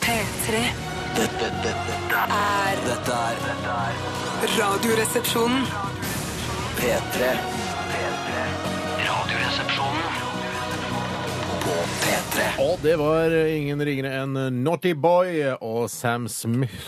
P3 Dette, dette, dette, er dette er dette er Radioresepsjonen. P3. P3. Radioresepsjonen på P3. Og det var ingen ringere enn Naughty Boy og Sam Smith.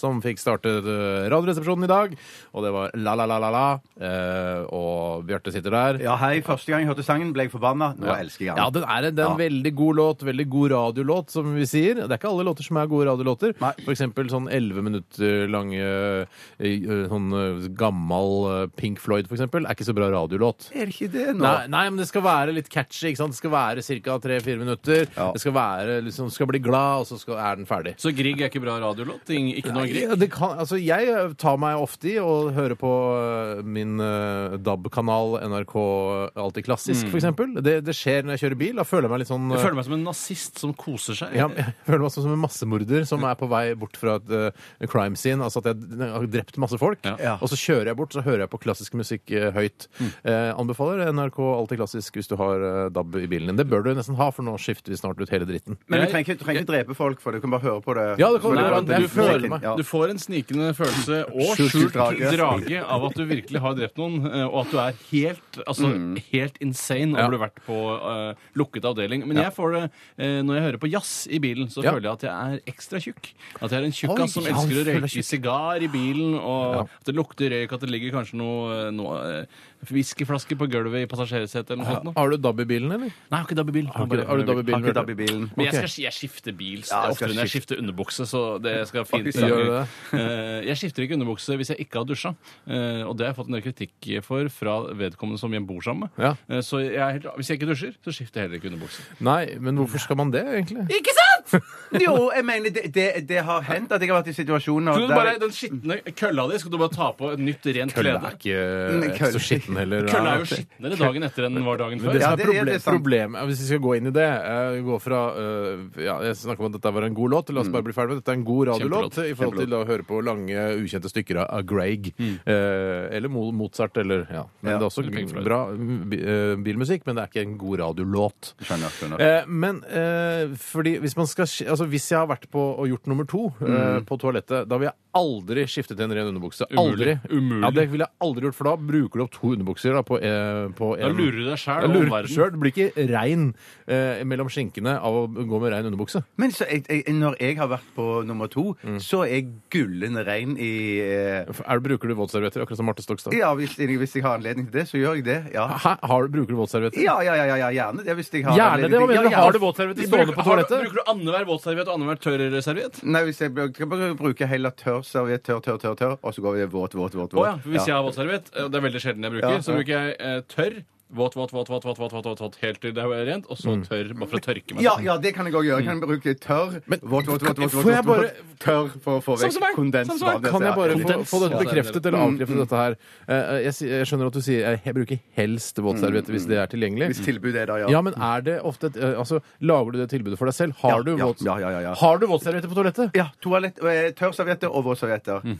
Som fikk startet eh, Radioresepsjonen i dag. Og det var la-la-la-la-la. eh, Og Bjarte sitter der. Ja, hei. Første gang jeg hørte sangen, ble jeg forbanna. Nå elsker jeg Ja, den. den er en, det er en Ja. veldig god låt. Veldig god radiolåt, som vi sier. Det er ikke alle låter som er gode radiolåter. Nei. For eksempel sånn 11 minutter lange eh, eh, sånn eh, gammal eh, Pink Floyd, for eksempel, er ikke så bra radiolåt. Er det ikke det nå? Nei, nei, men det skal være litt catchy. ikke sant? Det skal være ca. 3-4 minutter. Ja. Det skal være, liksom, skal bli glad, og så skal, er den ferdig. Så Grieg er ikke bra radiolåt? Ing- Ikke noe Grieg? Ja, det kan, altså, jeg tar meg ofte i å høre på øh, min øh, DAB-kanal NRK eh, Alltid Klassisk, for eksempel. Det, det skjer når jeg kjører bil. Da føler jeg meg litt sånn Jeg øh, føler meg som en nazist som koser seg. ja, jeg føler meg som en massemorder som er på vei bort fra et øh, crime scene. Altså at jeg har drept masse folk. Ja. Og så kjører jeg bort, så hører jeg på klassisk musikk øh, høyt. Eh, anbefaler NRK Alltid Klassisk hvis du har øh, DAB i bilen din. Det bør du nesten ha, for nå skifter vi snart ut hele dritten. Men du trenger, ikke- du trenger ikke drepe folk, for du kan bare høre på det. Ja, det Så kan du Nei, gjøre. bare men Jeg du, dreper føler får, musikken. meg- Ja. du får en snikende følelse og Skjult skjult drage. drage av at du virkelig har drept noen, eh, og at du er helt, altså, helt insane Mm. Ja. over du har vært på eh, lukket avdeling. Men jeg får det eh, når jeg hører på jazz i bilen, så Ja. føler jeg at jeg er ekstra tjukk. At jeg er en Oi, tjukkas som ja, elsker å føler røyke sigar i bilen, og at det lukter røyk, at det ligger kanskje noe, noe eh, whiskyflaske på gulvet i passasjersetet eller noe sånt. noe. Har du DAB i bilen, eller? Nei, jeg har ikke dabb i bilen. Har, ikke- har du DAB i Har bilen? ikke dabb i bilen. Men jeg, Ok. skal, jeg skifter bil Ja, du skal oftere enn jeg skifte. skifter underbukse. så det skal fint Faktisk, gjør du det? Eh, Jeg skifter ikke underbukse hvis jeg ikke har dusja. Eh, Og det har jeg fått en del kritikk for fra vedkommende som jeg bor sammen med. Ja. Eh, Så jeg er helt, hvis jeg ikke dusjer, så skifter jeg heller ikke underbukse. Nei, men hvorfor skal man det, egentlig? Ikke sant?! Jo, jeg mener, det, det, det har hendt at jeg har vært i situasjoner Skal du bare, den skitne kølla di skal du bare ta på et nytt, rent klede. Kølla er ikke kølla- så skitten heller. Kølla er jo skitnere dagen etter enn den var dagen Det før. som Ja, er det- det- proble det er sant. problemet, Hvis vi skal gå inn i det Jeg, går fra, øh, ja, jeg snakker om at dette var en god låt. La oss bare bli ferdig med det. Dette er en god radiolåt Kjempelåt. i forhold til å høre på lange, ukjente stykker av- av Greg. Eh, eller Mo- Mozart, eller ja. Men Ja, det er også eller Pink Floyd. bra mm, bi- eh, bilmusikk, men det er ikke en god radiolåt. Skjønner, skjønner. Eh, men eh, fordi hvis man skal sk- Altså hvis jeg har vært på og gjort nummer to eh, på toalettet, da vil jeg aldri skifte til en ren underbukse. Aldri. Umulig. Umulig. Ja, det ville jeg aldri gjort, for da bruker du opp to underbukser da, på, eh, på en Da lurer du Da deg sjæl og lurer du omverdenen. selv. Du blir ikke rein eh, mellom skinkene av å gå med rein underbukse. Men så, jeg, jeg, når jeg har vært på nummer to, Mm. så er jeg gullende rein i eh, Er, bruker du våtservietter, akkurat som Marte Stokstad? Ja, hvis, hvis jeg har anledning til det, så gjør jeg det. Ja, Hæ? Har, du- bruker du våtservietter? ja, ja, ja, ja, ja gjerne det. Hvis jeg har Gjerne det? anledning Hva til- mener du? Ja, altså, ja. Har du våtservietter stående på har du- toalettet? Bruker du annenhver våtserviett og annenhver tørr serviett? Nei, hvis jeg, jeg skal bare bruke heller tørr serviett, tørr, tørr, tørr, tørr, og så går vi våt, våt, våt. Å våt. ja. for Hvis jeg har våtserviett, eh, det er veldig sjelden jeg bruker, Ja, ja. så bruker jeg eh, tørr. Våt, våt, våt, våt, våt, våt, våt, våt, våt helt til det er rent, og så tørr, bare for å tørke meg. Ja, ja, det kan jeg òg gjøre. Jeg kan bruke tørr, våt, våt, våt, våt, våt, Mm. Får jeg våt, bare- Sånn våt, tørr for å få Samme vekk sånn som meg, samme som kondensvannet. meg. Kan jeg bare få, Kondens. få Ja, dette det er bekreftet eller avkreftet, dette her? Eh, jeg, si- jeg skjønner at du sier eh, jeg bruker helst våtservietter hvis det er tilgjengelig. Hvis tilbudet er der, Ja, ja. men er det ofte et, eh, altså, Lager du det tilbudet for deg selv? Har Ja, du ja, våt- ja, ja, ja, ja. Har du våtservietter på toalettet? Ja, toalett, eh, tørrservietter og våtservietter.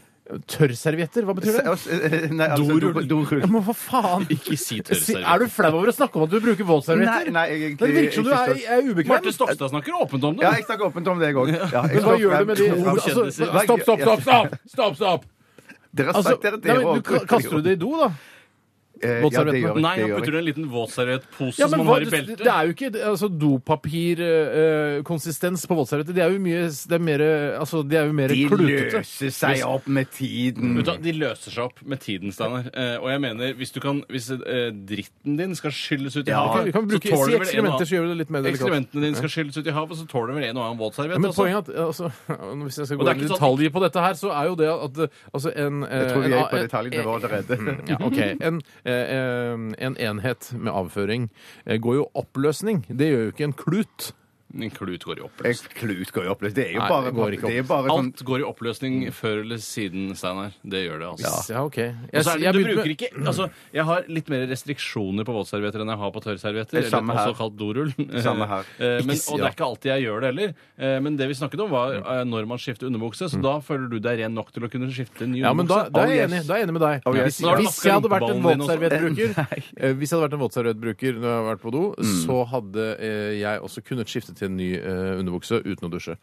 Tørrservietter? Hva betyr Mm. det? S- eh, Nei, altså, Dorull. do- dorull. Ja, men hva faen? Ikke si tørr Si- Er du flau over å snakke om at du bruker Nei, våtservietter? nei, jeg- det virker som du er, ikke er ubekvem. Marte Stokstad snakker åpent om det. Ja, jeg snakker åpent om det, jeg òg. Ja, jeg Men hva står gjør frem. du med de Ja, altså, kjendiser. Stopp, stopp, stopp! stopp, stopp, stopp. Dere har Altså, sagt dere nei, dere men også du, ka- bruker kaster du det i do, da? Sånn Eh, Ja, det våtserviettene? gjør jeg. Nei, det han gjør putter jeg. en liten våtserviettpose Ja, som men han hva, har i det, beltet. det er jo ikke altså, dopapirkonsistens på våtservietter. Det er jo mye Det er mer, altså, det er jo mer De klutete. løser seg opp med tiden. Vet du hva, De løser seg opp med tiden, Steinar. Eh, og jeg mener, hvis, du kan, hvis eh, dritten din skal skylles ut i Ja, Kan, havet, kan vi så bruke, tåler si du vel en ekskrementer, så og annen gjør vi det litt mer delikat. Ekskrementene dine skal skylles ut i havet, så tåler du vel en og annen våtserviett. Men altså. poenget er at altså, Hvis jeg skal Og gå det er inn i ikke sånn- detaljer på dette her, så er jo det at eh, altså, en, eh, mm. Jeg tror vi en- er på en- detaljnivå allerede. Ja, ok. En, eh, eh, en enhet med avføring eh, går jo oppløsning. Det gjør jo ikke en klut. En klut går i Jeg- oppløsning. Klut går i oppløsning. Det er jo Nei, bare, det går ikke det er bare sånn Alt går i oppløsning før eller siden, Steinar. Det gjør det, altså. Ja, ok. Jeg, Og så er det, jeg Mm. du begynte med- bruker ikke, altså, jeg har litt mer restriksjoner på våtservietter enn jeg har på tørrservietter. Det samme Eller her. også kalt dorull. sånn Samme her. Eh, Men, Ikke si- og ja. det Mm. er ikke alltid jeg gjør det heller. Eh, Men det vi snakket om, var eh, når man skifter underbukse. Så da føler du deg ren nok til å kunne skifte en ny Ja, men da, underbukse. da, er jeg Oh, enig, yes. da er jeg enig med deg. Oh, yes. hvis, Men da har du hvis vasket jeg hadde vært en rumpeballen din også. Mm. våtserviettbruker eh, Hvis jeg hadde vært en våtserviettbruker når jeg har vært på do, så hadde eh, jeg også kunnet skifte til en ny eh, underbukse uten å dusje.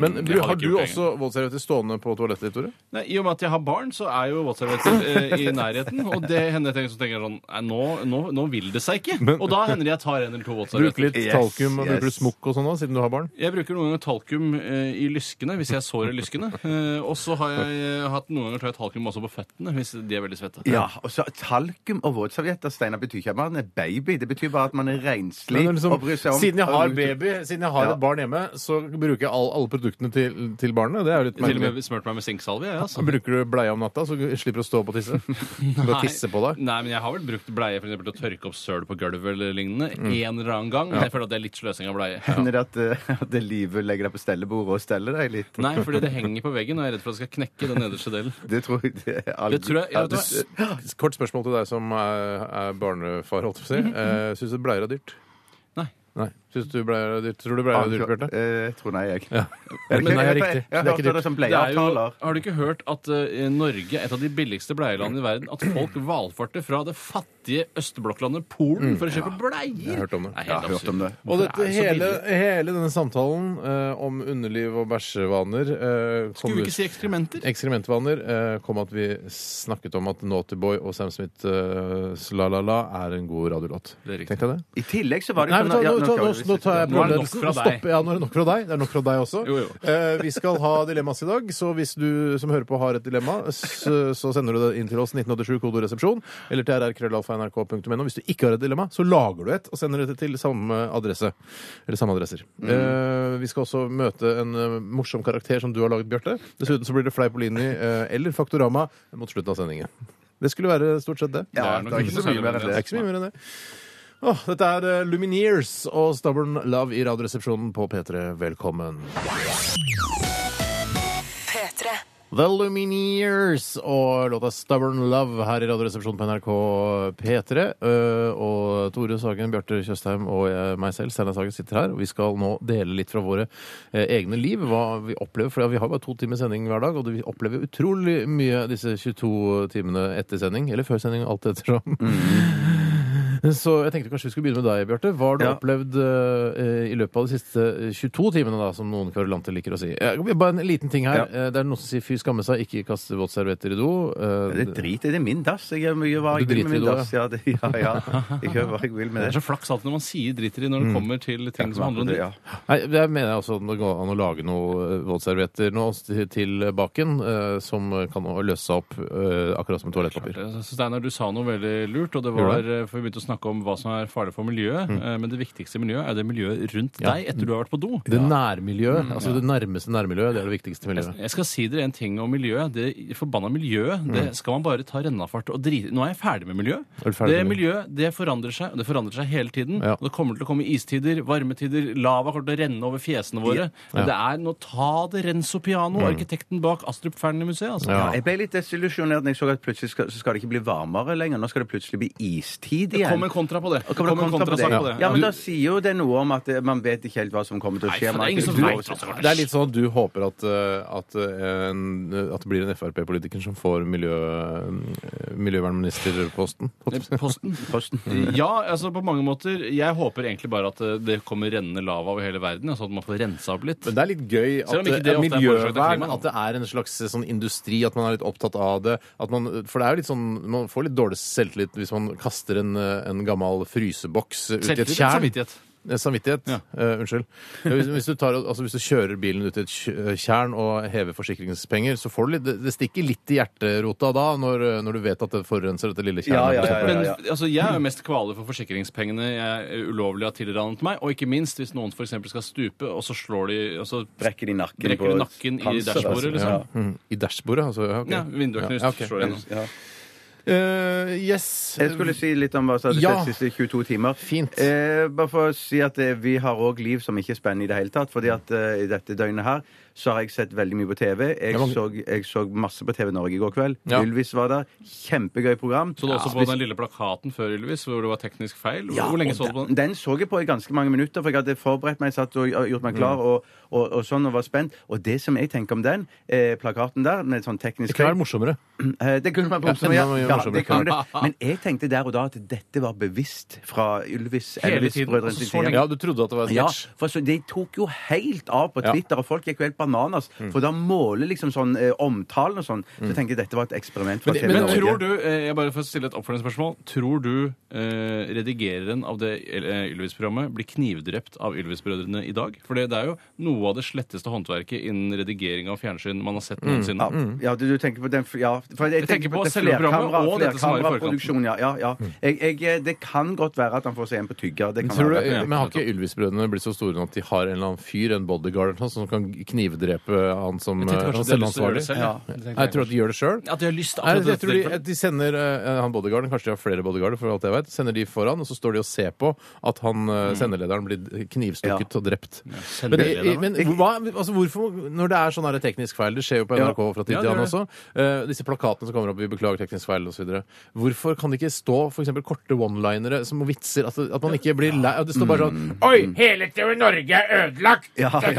Men Mm, det du, hadde har ikke du gjort det, også våtservietter stående på toalettet ditt, Tore? Nei, I og med at jeg har barn, så er jo våtservietter eh, i nærheten. Og det hender jeg tenker, så tenker jeg sånn nei, nå, nå, nå vil det seg ikke. Men- og da hender det jeg tar en eller to Bruker våtservietter. litt Yes, talkum og yes. bruker litt smokk og sånn òg, siden du har barn? Jeg bruker noen ganger talkum eh, i lyskene hvis jeg sårer lyskene. Eh, og så har jeg eh, hatt noen ganger tror jeg, talkum også på føttene hvis de er veldig svette. eh. Ja, og så Talkum og våtservietter Steinar, betyr ikke at man er baby. Det betyr bare at man er renslig Men det er liksom, og bryr seg om siden jeg har baby, siden jeg har Ja. et barn hjemme, så bruker jeg all, alle produktene til, til barnet. Det er jo litt Til og merkelig. med smurt meg med sinksalve. Jeg, altså. Så bruker du bleie om natta, så du slipper å stå opp og tisse. Du Nei. kan tisse på deg. Nei, men jeg har vel brukt bleie for eksempel, til å tørke opp søl på gulvet eller lignende Mm. en eller annen gang. Jeg føler at det er litt sløsing av bleie. Hender det at, eh, at det livet legger deg på stellebordet og steller deg litt? Nei, fordi det henger på veggen, og jeg er redd for at det skal knekke den nederste delen. Det tror jeg det er all- Det tror jeg- ja, Ja, vet du det- Kort spørsmål til deg som er, er barnefar, holdt jeg på å si. Mm-hmm. Eh, Syns du bleier er dyrt? Nei. Nei. Syns du bleier er dyrt? Tror du bleier Ah, er dyrt, Bjarte? Eh, Jeg tror nei, jeg. Ja. Er det Men ikke- nei, jeg- riktig. Jeg har Det er ikke hørt dyrt. det som Det er jo, bleieavtaler. har du ikke hørt at eh, Norge, et av de billigste bleielandene i verden, at folk valfarter fra det fattige østblokklandet Polen for å kjøpe bleier? Mm. Jeg har hørt om det. Nei, Jeg har helt hørt om det. Og Hvorfor dette, er det så hele, billig? hele denne samtalen eh, om underliv og bæsjevaner eh, Skulle kommer- vi ikke si eksperimenter? Ekskrementvaner eh, kom at vi snakket om at Naughty Boy og Sam Smiths La La La er en god radiolåt. Det er riktig. Tenkte jeg det? I tillegg så var det Nei, jo men ta, ja, nå, ta, nå, skal vi- nå tar jeg sånn- Nå er det nok programledelsen fra og deg. stopper. Ja, nå er det nok fra deg. Det er nok fra deg også. Jo, jo. Eh, vi skal ha dilemmas i dag, så hvis du som hører på har et dilemma, så, så sender du det inn til oss 1987 kodoresepsjon eller til rrkrøllalfa.nrk.no. Hvis du ikke har et dilemma, så lager du et og sender det til samme adresse. Eller samme adresser. Mm. Eh, vi skal også møte en eh, morsom karakter som du har laget, Bjarte. Dessuten så blir det Fleipolini eh, eller Faktorama mot slutten av sendingen. Det skulle være stort sett det. Ja, Det er det nok er ikke ikke så så mye mer enn mye Det er det. ikke så mye mer enn det. Åh, dette er eh, Lumineers og Stubborn Love i Radioresepsjonen på P3. Velkommen. P3. The Lumineers og låta Stubborn Love her i Radioresepsjonen på NRK P3. Eh, og Tore Sagen, Bjarte Tjøstheim og jeg, meg selv, Steinar Sagen, sitter her. Og vi skal nå dele litt fra våre eh, egne liv, hva vi opplever. For vi har bare to timer sending hver dag, og vi opplever utrolig mye disse 22 timene etter sending. Eller før sending, alt ettersom. Så jeg tenkte kanskje vi skulle begynne med deg, Bjarte. Hva har du Ja. opplevd eh, i løpet av de siste eh, 22 timene, da, som noen kverulanter liker å si? Eh, bare en liten ting her. Ja. Eh, det er noen som sier 'fy, skamme seg, ikke kaste våtservietter i do'. Eh, Det driter Det er min dass. Jeg gjør mye hva Du jeg vil driter med i min det, dass. Ja, det, ja, ja. Jeg gjør hva jeg vil med det. Det er så flaks alltid når man sier driter i når det kommer til ting som handler om dritt. Ja. Nei, det mener jeg også at det går an å lage noe eh, våtservietter nå til- til baken eh, som kan løse seg opp, eh, akkurat som toalettpapir. Jeg synes, Steinar, du sa noe veldig lurt, og det Gjorde var eh, for vi begynte å snakke om hva som er farlig for miljøet. eh, Men det viktigste i miljøet er det miljøet rundt Ja. deg etter du har vært på do. Det nærmiljøet, altså det nærmeste nærmiljøet, det er det viktigste miljøet. Jeg skal si dere en ting om miljøet. Det forbanna miljøet, det skal man bare ta rennafart og drite Nå er jeg ferdig med miljø. Er du ferdig det med- miljøet det forandrer seg, og det forandrer seg hele tiden. Ja. Og det kommer til å komme istider, varmetider, lava kommer til å renne over fjesene våre. Men det er nå ta det Renzo Piano, arkitekten bak Astrup Fearnley-museet, altså. Ja. Ja, jeg ble litt desillusjonert når jeg så at plutselig skal, så skal det ikke bli varmere lenger. Nå skal det plutselig bli istid Det igjen. kom en kontra på det. Og kommer det Kom en kontra på det? kontrasak på Ja. det. men da sier jo det noe om at eh, man vet ikke helt hva som kommer til å Nei, skje. for det er Man- ingen som du- vet hva som kommer Det er litt sånn at du håper at, eh, at, eh, en, at det blir en Frp-politiker som får miljø, eh, miljøvernministerposten. Posten. Posten. Ja, altså på mange måter. Jeg håper egentlig bare at eh, det kommer rennende lava over hele verden, altså at man får rensa opp litt. Men det er litt gøy Selv at om det ikke det er ofte er foreslått av miljøvern, klimaet, da. at det er en slags sånn industri, at man er litt opptatt av det. At man, for det er jo litt sånn, man får litt dårlig selvtillit hvis man kaster en, eh, en gammel fryseboks ut i et Selvtillit og tjern. samvittighet. Eh, Samvittighet. Ja. Eh, unnskyld. Eh, Hvis, hvis, du tar, altså, hvis du kjører bilen ut i et tj- eh, tjern og hever forsikringspenger, så får du litt Det, det stikker litt i hjerterota da, når, eh, når du vet at det forurenser dette lille tjernet. Ja, ja, ja, ja. Men altså, jeg er jo mest kvale for forsikringspengene jeg eh, ulovlig har tilranet meg. Og ikke minst hvis noen f.eks. skal stupe, og så slår de og så Brekker de nakken brekker de nakken i panseret, dashbordet, altså. liksom. Mm, I dashbordet, altså? Ja, ok. Ja, Vinduøkner Ja, ok. slår igjennom. Ja. Ja. Eh, yes. Jeg skulle si litt om hva som hadde Ja. skjedd de siste 22 timer. Fint. Eh, bare for å si at eh, Vi har òg liv som ikke er spennende i det hele tatt. fordi at eh, i dette døgnet her så har jeg sett veldig mye på TV. Jeg, Ja, men- så, jeg så masse på TV Norge i går kveld. Ja. Ylvis var der. Kjempegøy program. Så du også på Spes- den lille plakaten før Ylvis, hvor det var teknisk feil? Ja, Hvor lenge og så du på den? den? Den så jeg på i ganske mange minutter, for jeg hadde forberedt meg, satt og gjort meg Mm. klar og, og, og sånn, og var spent. Og det som jeg tenker om den eh, plakaten der, med sånn Det teknisk kunne være morsommere. Eh, Det kunne vært morsomt. Ja, Ja, enda mye ja, Ja, morsomme det kan det. kar. Men jeg tenkte der og da at dette var bevisst fra Ylvis Hele tiden, Elvis-brødrene altså, sin så side. lenge. Ja, du trodde at det var en Ja, sketsj? for så De tok jo helt av på Ja. Twitter, og folk gikk jo helt bananas. Mm. For da måler liksom sånn eh, omtalen og sånn. Så jeg tenkte jeg dette var et eksperiment. fra Men- TV Men Norge. tror du eh, jeg bare får stille et oppfølgingsspørsmål, tror du eh, redigereren av det eh, Ylvis-programmet blir knivdrept av Ylvis-brødrene i dag? For det, det er jo noe av det sletteste håndverket innen redigering av fjernsyn man har sett noensinne. Ja, ja du, du tenker på den f- ja, for jeg, Mm. tenker på at det er selve programmet flerkamera- og dette som var i forkant. Mm. flerkameraproduksjon, Ja, ja, ja. Jeg, jeg, eh, det kan godt være at han får se en på tygger. Det kan Tror du, være. men Har ikke Ylvis-brødrene blitt så store nå at de har en eller annen fyr, en bodyguard, eller noe, sånt, som kan knivdrepe han som Jeg tenkte eh, kanskje han de har lyst til å selvansvarlig? gjøre det selv. Ja. Jeg tenkte Jeg tror at de gjør det sjøl. At de har lyst til Nei, akkurat jeg tror de, dette. de sender eh, han bodyguarden, kanskje de har flere bodyguarder, for alt jeg vet, sender de foran, og så står de og ser på at han eh, sendelederen blir knivstukket og drept. Men, sendelederen, i- i- men hva, altså hvorfor, når det er sånn her teknisk feil, det skjer jo på Ja. NRK fra tid Ja, til det annen gjør også, eh, disse plakatene som kommer opp, vi beklager teknisk feil osv., hvorfor kan det ikke stå f.eks. korte one-linere som vitser, altså, at, at man ikke blir lei Det står bare sånn Oi, Mm. hele TV Norge er ødelagt! Ja, ja.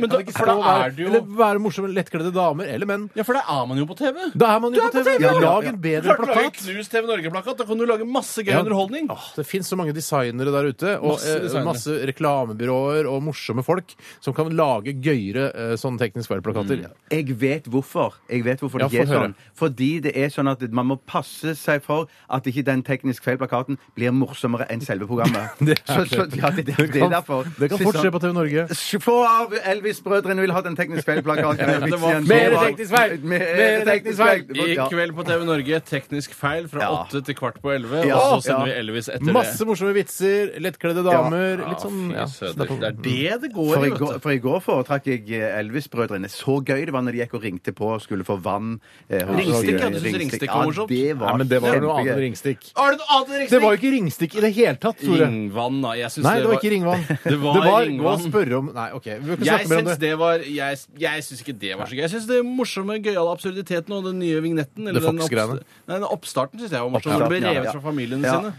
Men da, for da er er det det jo- Eller være morsomme, lettkledde damer eller menn. Ja, for da er man jo på TV. Da er man jo på TV! TV, ja. Lag en bedre Klart du har en plakat! knust TV Norge-plakat. Da kan du lage masse gøy Ja. underholdning. Åh, det fins så mange designere der ute, og Masse masse, designere. masse reklamebyråer og morsomme folk som kan lage gøyere eh, sånne teknisk feil-plakater. Jeg vet hvorfor. Jeg vet hvorfor det Ja, ikke få er høre. sånn. Fordi det er sånn at man må passe seg for at ikke den teknisk feil plakaten blir morsommere enn selve programmet. så, så, ja, det, det, det er derfor. sånn- Det kan fort skje på TV Norge. Få av Elvis-brødrene vil ha den teknisk feil plakaten. Ja, det var- Mere teknisk feil! Mere teknisk feil! I kveld på TV Norge teknisk feil fra Ja. åtte til kvart på elleve. Ja. Og så sender Ja. vi Elvis etter Masse det. morsomme vitser, lettkledde damer Litt sånn fy ja. søder. Det er det det går For i, i, går, vet du. for i går foretrakk jeg eh, Elvis-brødrene. Så gøy det var når de gikk og ringte på og skulle få vann. Eh, hos- Ringstikk, ja. Du synes ringstikk var morsomt? Ja, det var, Nei, men det var jo noe kjempegøy. annet enn ringstikk. Har du noe annet Det var jo ikke ringstikk i det hele tatt, Tore. Ringvann, da. Jeg syns Nei, det var ikke ringvann. Det var å ringvann. spørre om Nei, OK. Vi kan Jeg snakke mer om syns det. det var Jeg, jeg syns ikke det var så gøy. Jeg syns det morsomme, gøyale absurditeten og den nye vignetten eller Det den, Fox-greiene. nei, den oppstarten syns jeg var morsom. Hvor Oppstarten, det ble ja, revet ja. fra familiene Ja. sine.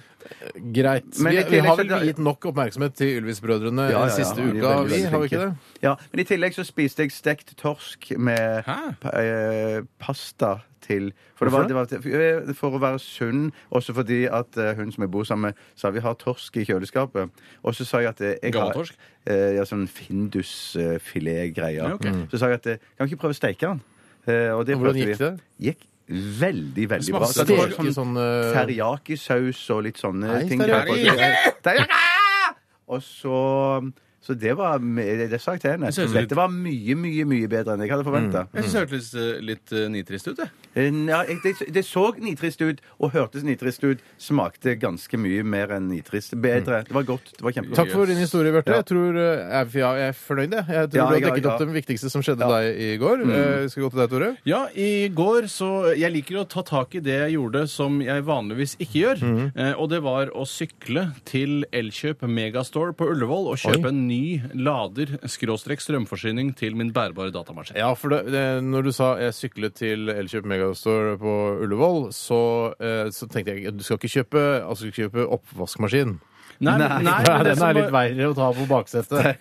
Greit. Men i Vi, vi tillegg har så- vel gitt nok oppmerksomhet til Ja, Ylvis-brødrene ja, ja. den siste De er uka, veldig, vi, veldig har vi ikke det? flinke. Ja, men i tillegg så spiste jeg stekt torsk med Hæ? pa- eh, pasta til for, det Hvorfor var, det var, til- eh, for å være sunn, også fordi at eh, hun som jeg bor sammen med, sa vi har torsk i kjøleskapet. Og så sa jeg at eh, jeg Gammel har torsk? eh, ja, sånn findusfiletgreier. Ja, ok. Mm. Så sa jeg at eh, kan vi ikke prøve å steike den? Eh, og det Og hvordan prøvde vi. gikk det? Gikk veldig, veldig bra. Smakte Så det var torsk i sånn sånn, eh, Teriyaki-saus og litt sånne Nei, ting. det var på. teriyaki! Teriyaki! Og så så det var Det sa jeg til henne. Det Mm. ser ut som litt- Dette var mye, mye mye bedre enn jeg hadde forventa. Jeg syns det hørtes litt, litt eh, nitrist ut, jeg. Ja, jeg- det, det så nitrist ut og hørtes nitrist ut. Smakte ganske mye mer enn nitrist. Bedre. Det var godt. Det var kjempegodt. Takk for din historie, Bjarte. Ja. Jeg, tror, eh, jeg, ja, jeg er fornøyd, jeg. Jeg tror Ja, du har ja, dekket ja. opp det viktigste som skjedde deg i går. Eh, Skal vi gå til deg, Tore? Ja, i går så Jeg liker å ta tak i det jeg gjorde som jeg vanligvis ikke gjør. eh, og det var å sykle til Elkjøp Megastore på Ullevål og kjøpe Oi. en ny lader skråstrek strømforsyning til min bærbare datamaskin. Ja, for det, det, når du sa jeg syklet til Elkjøp Megastore på Ullevål, så, eh, så tenkte jeg at du skal ikke kjøpe, altså, du skal ikke kjøpe oppvaskmaskin. Nei, men- nei, men det, som var, verre å ta på baksetet.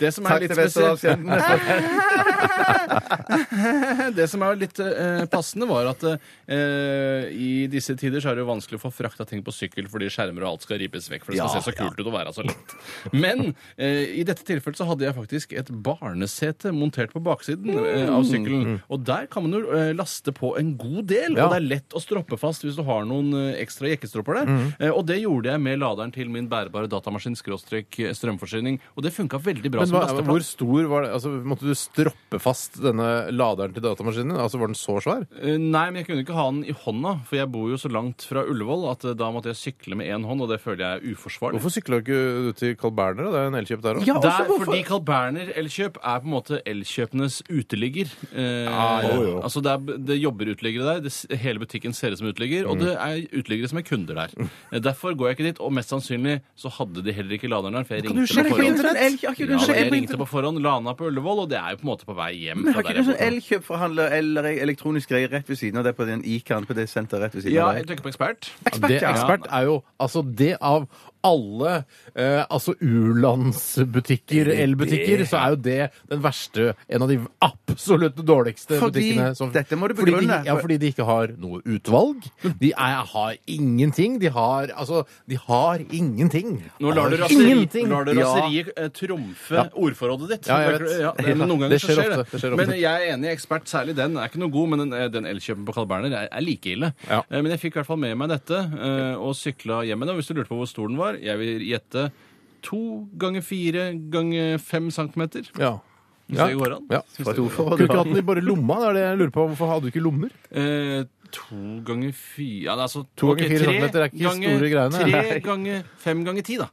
det som er Takk litt til spesielt Vesterålen. Det som er litt eh, passende, var at eh, i disse tider så er det jo vanskelig å få frakta ting på sykkel fordi skjermer og alt skal ripes vekk, for det skal Ja, se så kult ut og være så lett. Men eh, i dette tilfellet så hadde jeg faktisk et barnesete montert på baksiden eh, av sykkelen. Og der kan man jo eh, laste på en god del, Mm. Ja. og det er lett å stroppe fast hvis du har noen eh, ekstra jekkestropper der. Mm. Eh, og det gjorde jeg med laderen til min bærbare datamaskin skråstrek eh, strømforsyning, og det funka veldig bra Men som hva, lasteplass. hvor stor var det? Altså, måtte du stroppe fast denne laderen til datamaskinen? Altså, Var den så svær? Eh, Nei, men jeg kunne ikke ha den i hånda, for jeg bor jo så langt fra Ullevål at eh, da måtte jeg sykle med én hånd, og det føler jeg er uforsvarlig. Hvorfor sykla ikke du til Carl Berner? da? Det er en Elkjøp der òg. Ja, Der, også altså, hvorfor? fordi Carl Berner Elkjøp er på en måte elkjøpenes uteligger. Eh, Ah, jo, jo. Altså det, er, det jobber uteliggere der. Det, s- hele butikken ser ut som uteligger, Mm. og det er uteliggere som er kunder der. Eh, Derfor går jeg ikke dit, og mest sannsynlig så hadde de heller ikke laderen der. For jeg Kan du sånn sjekke ringte på på forhånd. internett? Elkjøp, Ja, kan du sjekke jeg på ringte på forhånd, lana på Ullevål, og det er jo på en måte på vei hjem. Men fra har der ikke du jeg sånn bor. elkjøpforhandler eller elektronisk greie rett ved siden av deg på den Ican på det senteret rett ved siden Ja, av jeg deg? tenker på ekspert. Det ekspert er jo altså det av alle eh, altså u-landsbutikker, elbutikker, så er jo det den verste En av de absolutt dårligste Fordi- butikkene. som- dette må du Fordi begrunne. de, ja, fordi de ikke har noe utvalg. De er, har ingenting. De har altså De har ingenting. Nå lar du Har raseriet ingenting. ja. trumfe ordforrådet ditt. Ja, jeg vet. Ja, det, men noen ganger Det så skjer skjer ofte. det. Det skjer ofte. Men jeg er enig, ekspert særlig den er ikke noe god, men den, eh, den elkjøpen på Carl Berner er, er like ille. Ja. Eh, Men jeg fikk i hvert fall med meg dette eh, og sykla hjem igjen. Og Hvis du lurte på hvor stor den var, jeg vil gjette to ganger fire ganger fem centimeter. Ja. Hvis Ja. det går an. Ja. Hva sto for Kunne ikke hatt det? den i bare lomma? Det er det jeg lurer på. Hvorfor hadde du ikke lommer? Eh, to ganger fire ja, det er altså, To ganger ok, fire tre centimeter er ikke ganger- store greiene. Nei. Tre ganger fem ganger ti, da.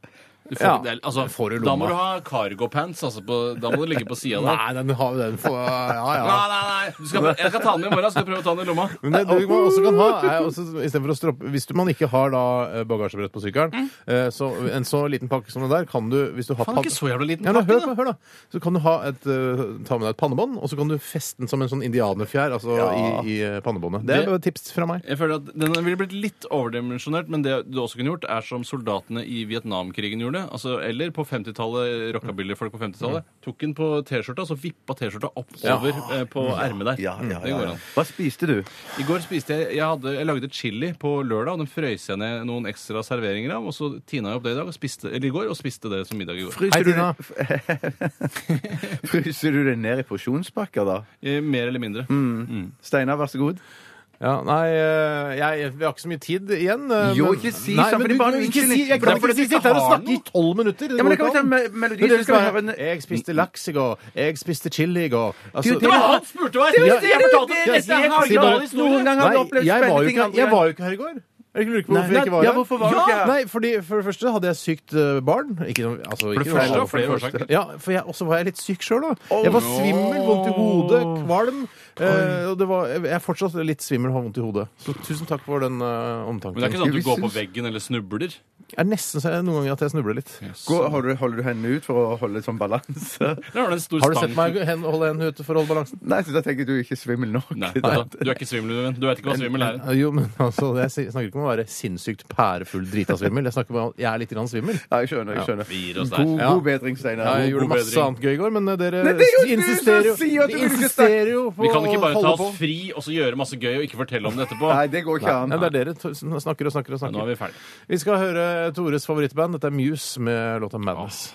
Du får, Ja, det er- altså, det får du da må lomma. du ha cargo-pants. Altså, på- da må du ligge på sida der. Nei, den har den for, Ja, ja. Nei, nei, nei. Du skal, jeg skal ta den med i morgen. Skal jeg prøve å ta den i lomma. Men det du man også kan ha, er også, i stedet for å stroppe, Hvis du, man ikke har da eh, bagasjebrett på sykkelen, Mm. eh, så en så liten pakke som den der kan du hvis du har Faen, det er ikke så jævla liten ja, men, pakke, hør, da. på, hør da. Så kan du ha et, eh, ta med deg et pannebånd, og så kan du feste den som en sånn indianerfjær altså, i, i eh, pannebåndet. Det er Det- et tips fra meg. Jeg føler at Den ville blitt litt overdimensjonert, men det du også kunne gjort, er som soldatene i Vietnamkrigen gjorde. Altså, eller på 50-tallet, rockabilly-folk på 50-tallet. Tok den på T-skjorta, så vippa T-skjorta oppover eh, på ermet der. Ja, ja, Det ja, går ja. an. Hva spiste du? I går spiste jeg jeg, hadde, jeg lagde chili på lørdag, og den frøys jeg ned noen ekstra serveringer av. Og så tina jeg opp det i dag, og spiste, eller i går, og spiste det som middag i går. Hei, Fryser du, Tina. fryser du det ned i porsjonspakker, da? Eh, Mer eller mindre. Steinar, vær så god. Ja, nei, eh, jeg, vi har ikke så mye tid igjen. eh, Jo, men- ikke si Nei, sånn, men fordi du- bare du- en ikke si- unnskyldning. For det Jeg kan er ikke fordi si- du ikke sitte her og har snakke noe. i tolv minutter. Det Ja, men går det Eh, kan vi ikke ta an. med melodi, Men så skal dere vi skal ha en ha- Jeg spiste laks i går. Jeg spiste chili i går. Altså- Du, det var Han spurte meg! Ja, Jeg fortalte ja, en helt si bare- original historie! Noen ganger har du opplevd jeg var spennende jo ting. ikke, andre Jeg ganger. var jo ikke her i går. Er det ikke lurt på hvorfor Nei, jeg ikke var ja, her? hvorfor var du ikke her? Nei, fordi For det første hadde jeg sykt eh, barn. Ikke noe, altså, For ikke det noe første alvor. av flere årsaker. Ja, for jeg, også var jeg litt syk sjøl, da. jeg var svimmel, vondt i hodet, kvalm. eh, og det var, jeg er fortsatt litt svimmel og har vondt i hodet. Så tusen takk for den eh, omtanken. Men det er ikke sånn at du går på veggen eller snubler? Jeg er nesten så jeg, noen ganger at jeg snubler litt. Gå- holder, du- holder du hendene ut for å holde sånn balanse? Eller har du en stor Har du stang sett meg hen, holde en ute for å holde balansen? Nei, så da tenker jeg du er ikke svimmel nok. Nei, altså, du er ikke svimmel, min venn. Du vet ikke hva svimmel er. Eh, Jo, men altså, Jeg sier- snakker ikke om å være sinnssykt pærefull drita svimmel. Jeg snakker bare om at jeg er litt grann svimmel. Ja, jeg skjønner. jeg skjønner. Vi gir oss der. God, Ja. god bedring, Steinar. Ja, jeg God gjorde masse bedring. annet gøy i går, men eh, dere Men det er jo du som insisterer jo, sier at du de vil ikke insisterer jo på Vi kan ikke å bare ta holde oss på. fri og så gjøre masse gøy og ikke fortelle om det etterpå. Nei, det går ikke an. Nei, det er dere to- som snakker og snakker og Nå er snakker. vi ferdige. Vi skal høre Tores favorittband. Dette er Muse med låta Madness.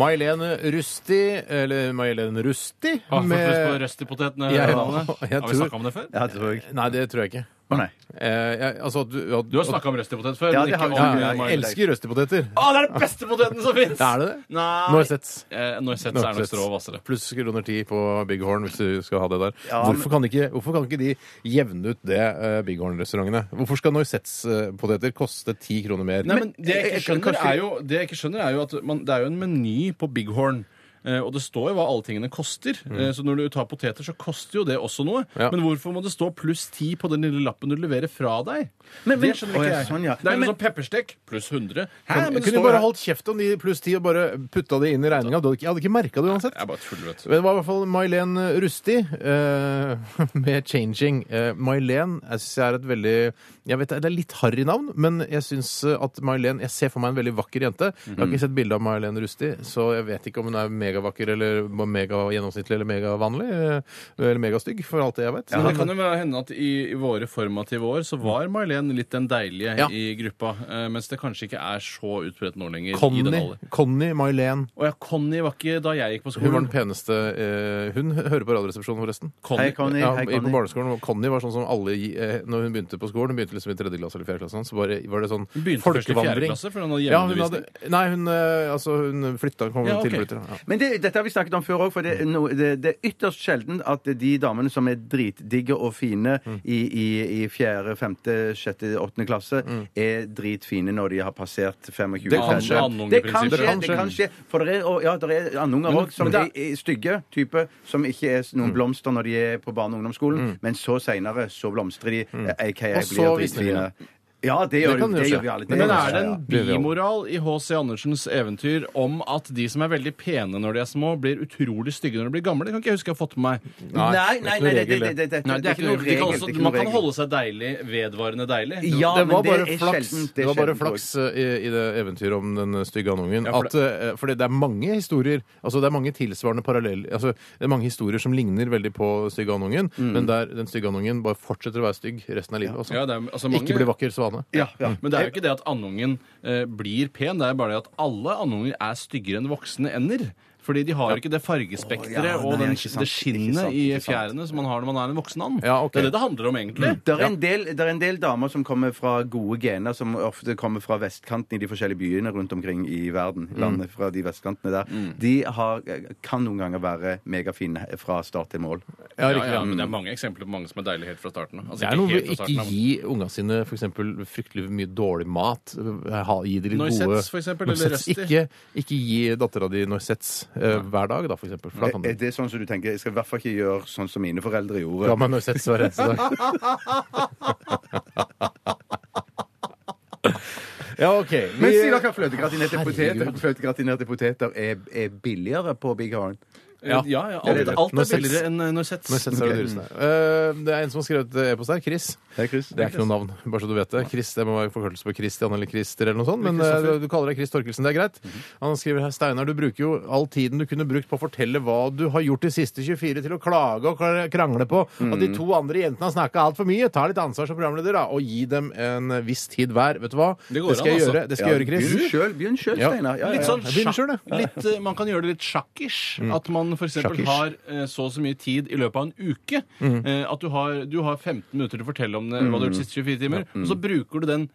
May-Helen Rusti, eller May-Helen Rusti Har du fått lyst på med røstipotetene? Ja, ja. Arne? Jeg Har tror- vi snakka om det før? Ja, det tror jeg. Nei, det tror jeg ikke. Å, nei. Eh, jeg, altså, at du, at, Du har snakka om røstipotet før. Ja, men det ikke har vi om, ja, snakket om. eh, Jeg Miley. elsker røstipoteter. Å, det er den beste poteten som fins! Er det det? Nei Noisets. Eh, Noisette er nok Noisette. strå hvassere. Pluss kroner 10 på Big Horn hvis du skal ha det der. Ja, men- hvorfor, kan ikke, hvorfor kan ikke de jevne ut det, eh, Big Horn-restaurantene? Hvorfor skal Noisettes-poteter koste 10 kroner mer? Nei, men det jeg jeg- ikke skjønner, kanskje- er jo, det jeg ikke skjønner er jo at man, det er jo en meny på Big Horn. Eh, og det står jo hva alle tingene koster. Eh, så når du tar poteter, så koster jo det også noe. Ja. Men hvorfor må det stå pluss 10 på den lille lappen du leverer fra deg? det skjønner Å, ikke ja, jeg. sånn, ja. Det er Men- jo sånn pepperstek pluss 100. Hæ, Kan- men det eh, kunne står du bare jo- holdt kjeft om de pluss 10 og bare putta det inn i regninga? Jeg hadde ikke merka det uansett. Jeg er bare tuller, vet du. Men det var i hvert fall Mailen Rusti eh, med 'Changing'. Uh, Mailen jeg synes jeg er et veldig Jeg vet det er litt harry navn, men jeg syns at Mailen Jeg ser for meg en veldig vakker jente. Jeg har ikke sett bilde av Mailen Rusti, så jeg vet ikke om hun er megavakker eller megagjennomsnittlig eller megavanlig. eh, eller megastygg, for alt det jeg vet. Men det kan jo være- hende at i, i våre formative år så var Marlene litt den deilige Ja. i gruppa. Eh, mens det kanskje ikke er så utbredt nå lenger. i den Conny, alder. Conny Mailen. Å ja, Conny var ikke da jeg gikk på Hun var skolen. den peneste eh, Hun hører på Radioresepsjonen, forresten. Conny. Hei, Conny. Ja, Hei, i- på Conny. barneskolen, og Conny var sånn som alle gi- eh, Når hun begynte på skolen, hun begynte liksom i tredje klasse eller fjerde klasse, og sånn, så bare, var det sånn Hun begynte først i fjerde folkevandring. klasse, for hun hadde Ja, hun hjemmeundervisning. hadde, nei, hun, eh, altså, hun flytta, kom Ja, ok. tilflytter. Ja. Men det, dette har vi snakket om før òg, for det, er no, det, det er ytterst sjelden at de damene som er dritdigge og fine i, i, i fjerde, femte, sjette, åttende klasse, er dritfine når de har passert 25. Det kan skje. Andunge- Det kan prinsippet. skje. Det kan skje. For det er, og, ja, det er andunger òg som men det er, er stygge type, som ikke er noen blomster når de eh, er på barne- og ungdomsskolen, men så seinere så blomstrer de, aka Og så blir visner de, ja. dritfine. Ja, det gjør, kan det jo skje. gjør vi alle. Men gjør er vi, det ja. en Det vil jeg bimoral i H.C. Andersens eventyr om at de som er veldig pene når de er små, blir utrolig stygge når de blir gamle? Det kan ikke jeg huske jeg har fått med meg. Nei, nei, det er ikke nei, noe det, det, regel, det, det, det, Nei, det er ikke noe regel. det er ikke noe man kan regel. holde seg deilig, vedvarende deilig. Ja, det men var bare det er flaks, sjeldent, det er var bare sjeldent, flaks eh, i, i det eventyret om den eh, stygge andungen. Ja, for at, eh, fordi det er mange historier altså det er mange tilsvarende parallell, altså det er mange historier som ligner veldig på stygge andungen, men der den stygge andungen bare fortsetter å være stygg resten av livet. altså. Ja, det er- altså, mange- Ikke bli vakker svane. Ja, ja. Men det er jo ikke det at andungen eh, blir pen, det er bare det at alle andunger er styggere enn voksne ender. Fordi de har ikke det Å, fargespekteret ja, og nei, den, ikke sant, det ikke skinnet sant, i ikke sant. Mm. fjærene som man har når man er en voksen and. Ja, ok. Det er det det handler om, egentlig. Det er, en del, det er en del damer som kommer fra gode gener, som ofte kommer fra vestkanten i de forskjellige byene rundt omkring i verden. Mm. Landet fra de vestkantene der. De har, kan noen ganger være megafine fra start til mål. Ja, Ja, Mm. riktig. ja, men det er mange eksempler på mange som er deilige helt fra starten av. Altså, Det er noe helt med fra ikke starten av. gi unga sine for eksempel, fryktelig mye dårlig mat. eh, Ha, gi de litt Noisets, gode for eksempel, eller Noisets. Røsti. Ikke, ikke gi dattera di Noisets eh, hver dag, da, for eksempel. For da Er kan er du det sånn som du tenker? Jeg skal i hvert fall ikke gjøre sånn som mine foreldre Ga gjorde. meg Noisets hver eneste dag. ja, OK. Vi- Men sier dere at fløtegratinerte Herregud. poteter, fløtegratinerte poteter er, er billigere på Big Horn? Ja, ja, alt, det. alt er Noisets. billigere enn eh, Noisets. Noisets er det dyreste. Eh, det er en som har skrevet eh, e-post her. Chris. Hei, Chris. Det er ikke noe navn, bare så du vet det. Chris, Det må være forkortelse på Christian eller Christer eller noe sånt. Men eh, du kaller deg Chris Torkelsen, det er greit. Mhm. Han skriver her Steinar, du bruker jo all tiden du kunne brukt på å fortelle hva du har gjort de siste 24 til å klage og kra- krangle på at Mhm. de to andre jentene har snakka altfor mye. Ta litt ansvar som programleder, da, og gi dem en viss tid hver. Vet du hva? Det går skal an, jeg altså. gjøre, det skal jeg gjøre, Chris. Begynn sjøl, begynn sjøl, Ja. Steinar. Ja, ja, Litt ja. sånn Jeg begynner sjakk, selv, litt, eh, man kan gjøre det litt sjakkish. At man f.eks. Sjakkish. har eh, så og så mye tid i løpet av en uke. eh, At du har, du har 15 minutter til å fortelle om det, hva du har gjort de siste 24 timer. Og så bruker du den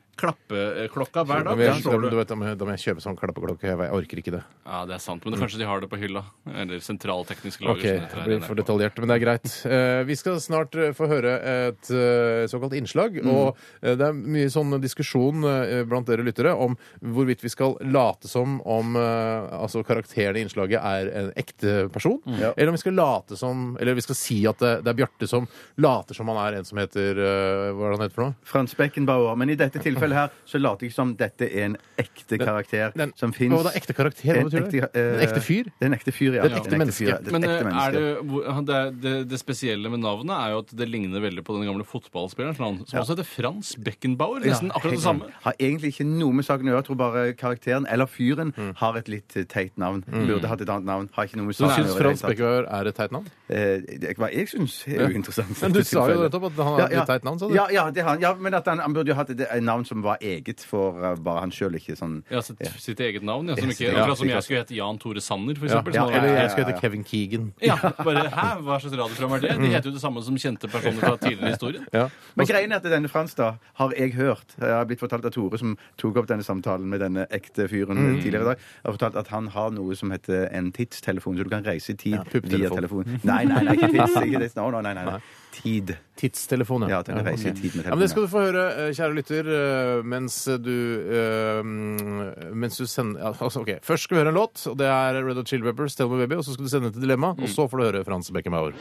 klappeklokka Da hver dag. må Da jeg, slår da, du. vet, da, må jeg, da må jeg kjøpe sånn klappeklokke. Jeg orker ikke det. Ja, det er sant, men det kanskje de har det på hylla. Eller sentralteknisk lager. Ok, som det dette her. blir for detaljert, men det er greit. Eh, vi skal snart eh, få høre et eh, såkalt innslag, og eh, det er mye sånn diskusjon eh, blant dere lyttere om hvorvidt vi skal late som om eh, altså karakteren i innslaget er en ekte person, Ja. eller om vi skal late som, eller vi skal si at det, det er Bjarte som later som han er en som heter, eh, hva er det han heter for noe? Frans Beckenbauer. Men i dette tilfellet her så later jeg som dette er en ekte karakter den- som Hva var fins. det, ekte karakter, hva betyr det? En ekte fyr? eh, Det er en ekte fyr, ja. Det er et ekte En menneske. fyr, ja. Det er Men et eh, ekte er menneske. det, hvor- han- det, er- det, det spesielle med navnet er jo at det ligner veldig på den gamle fotballspilleren som han- som også heter Frans Beckenbauer. Nesten akkurat det samme. Har egentlig ikke noe med saken å gjøre. Jeg tror bare karakteren, eller fyren, har et litt eh, teit navn. Burde hatt et annet navn. Har ikke noe med Mm. Du saken å syns gjøre. i det Frans hele tatt. Bekkevær er et teit navn? Eh, det- Hva jeg syns er jo interessant. Men du sa jo tilfellet. nettopp at han har et teit navn, sa du? Ja, ja, det har han. ja men at han, han burde jo hatt et, et navn som var eget for eh, bare han sjøl, ikke sånn Ja, sitt, sitt eget navn. Ja, som, ikke, Ja, akkurat som sikkert. jeg skulle hete Jan Tore Sanner, for Ja, eksempel. som hadde vært- eller jeg ja, skal ja. hete Kevin Keegan. Ja, bare hæ? Hva slags radioprogram er det? De heter jo det samme som kjente personer fra tidligere i historien. Ja. Men greien er at denne Frans, da, har jeg hørt Jeg har blitt fortalt av Tore, som tok opp denne samtalen med denne ekte fyren Mm. tidligere i dag, har fortalt at han har noe som heter en tidstelefon, så du kan reise i tid Ja, via pupptelefon. telefonen. Nei, nei, nei, ikke tids. Ikke tids. No, no, nei, nei, nei. Tid. Tidstelefon, ja. Ja, at den kan reise i tid med Ja, men telefonen, det skal du få høre, eh, kjære lytter, eh, mens du eh, mm, Mens du sender ja, altså, OK. Først skal vi høre en låt, og det er Red Hot Chili Peppers, Tell Me Baby, og så skal du sende den til Dilemma, og så får du høre Frans Beckenbauer.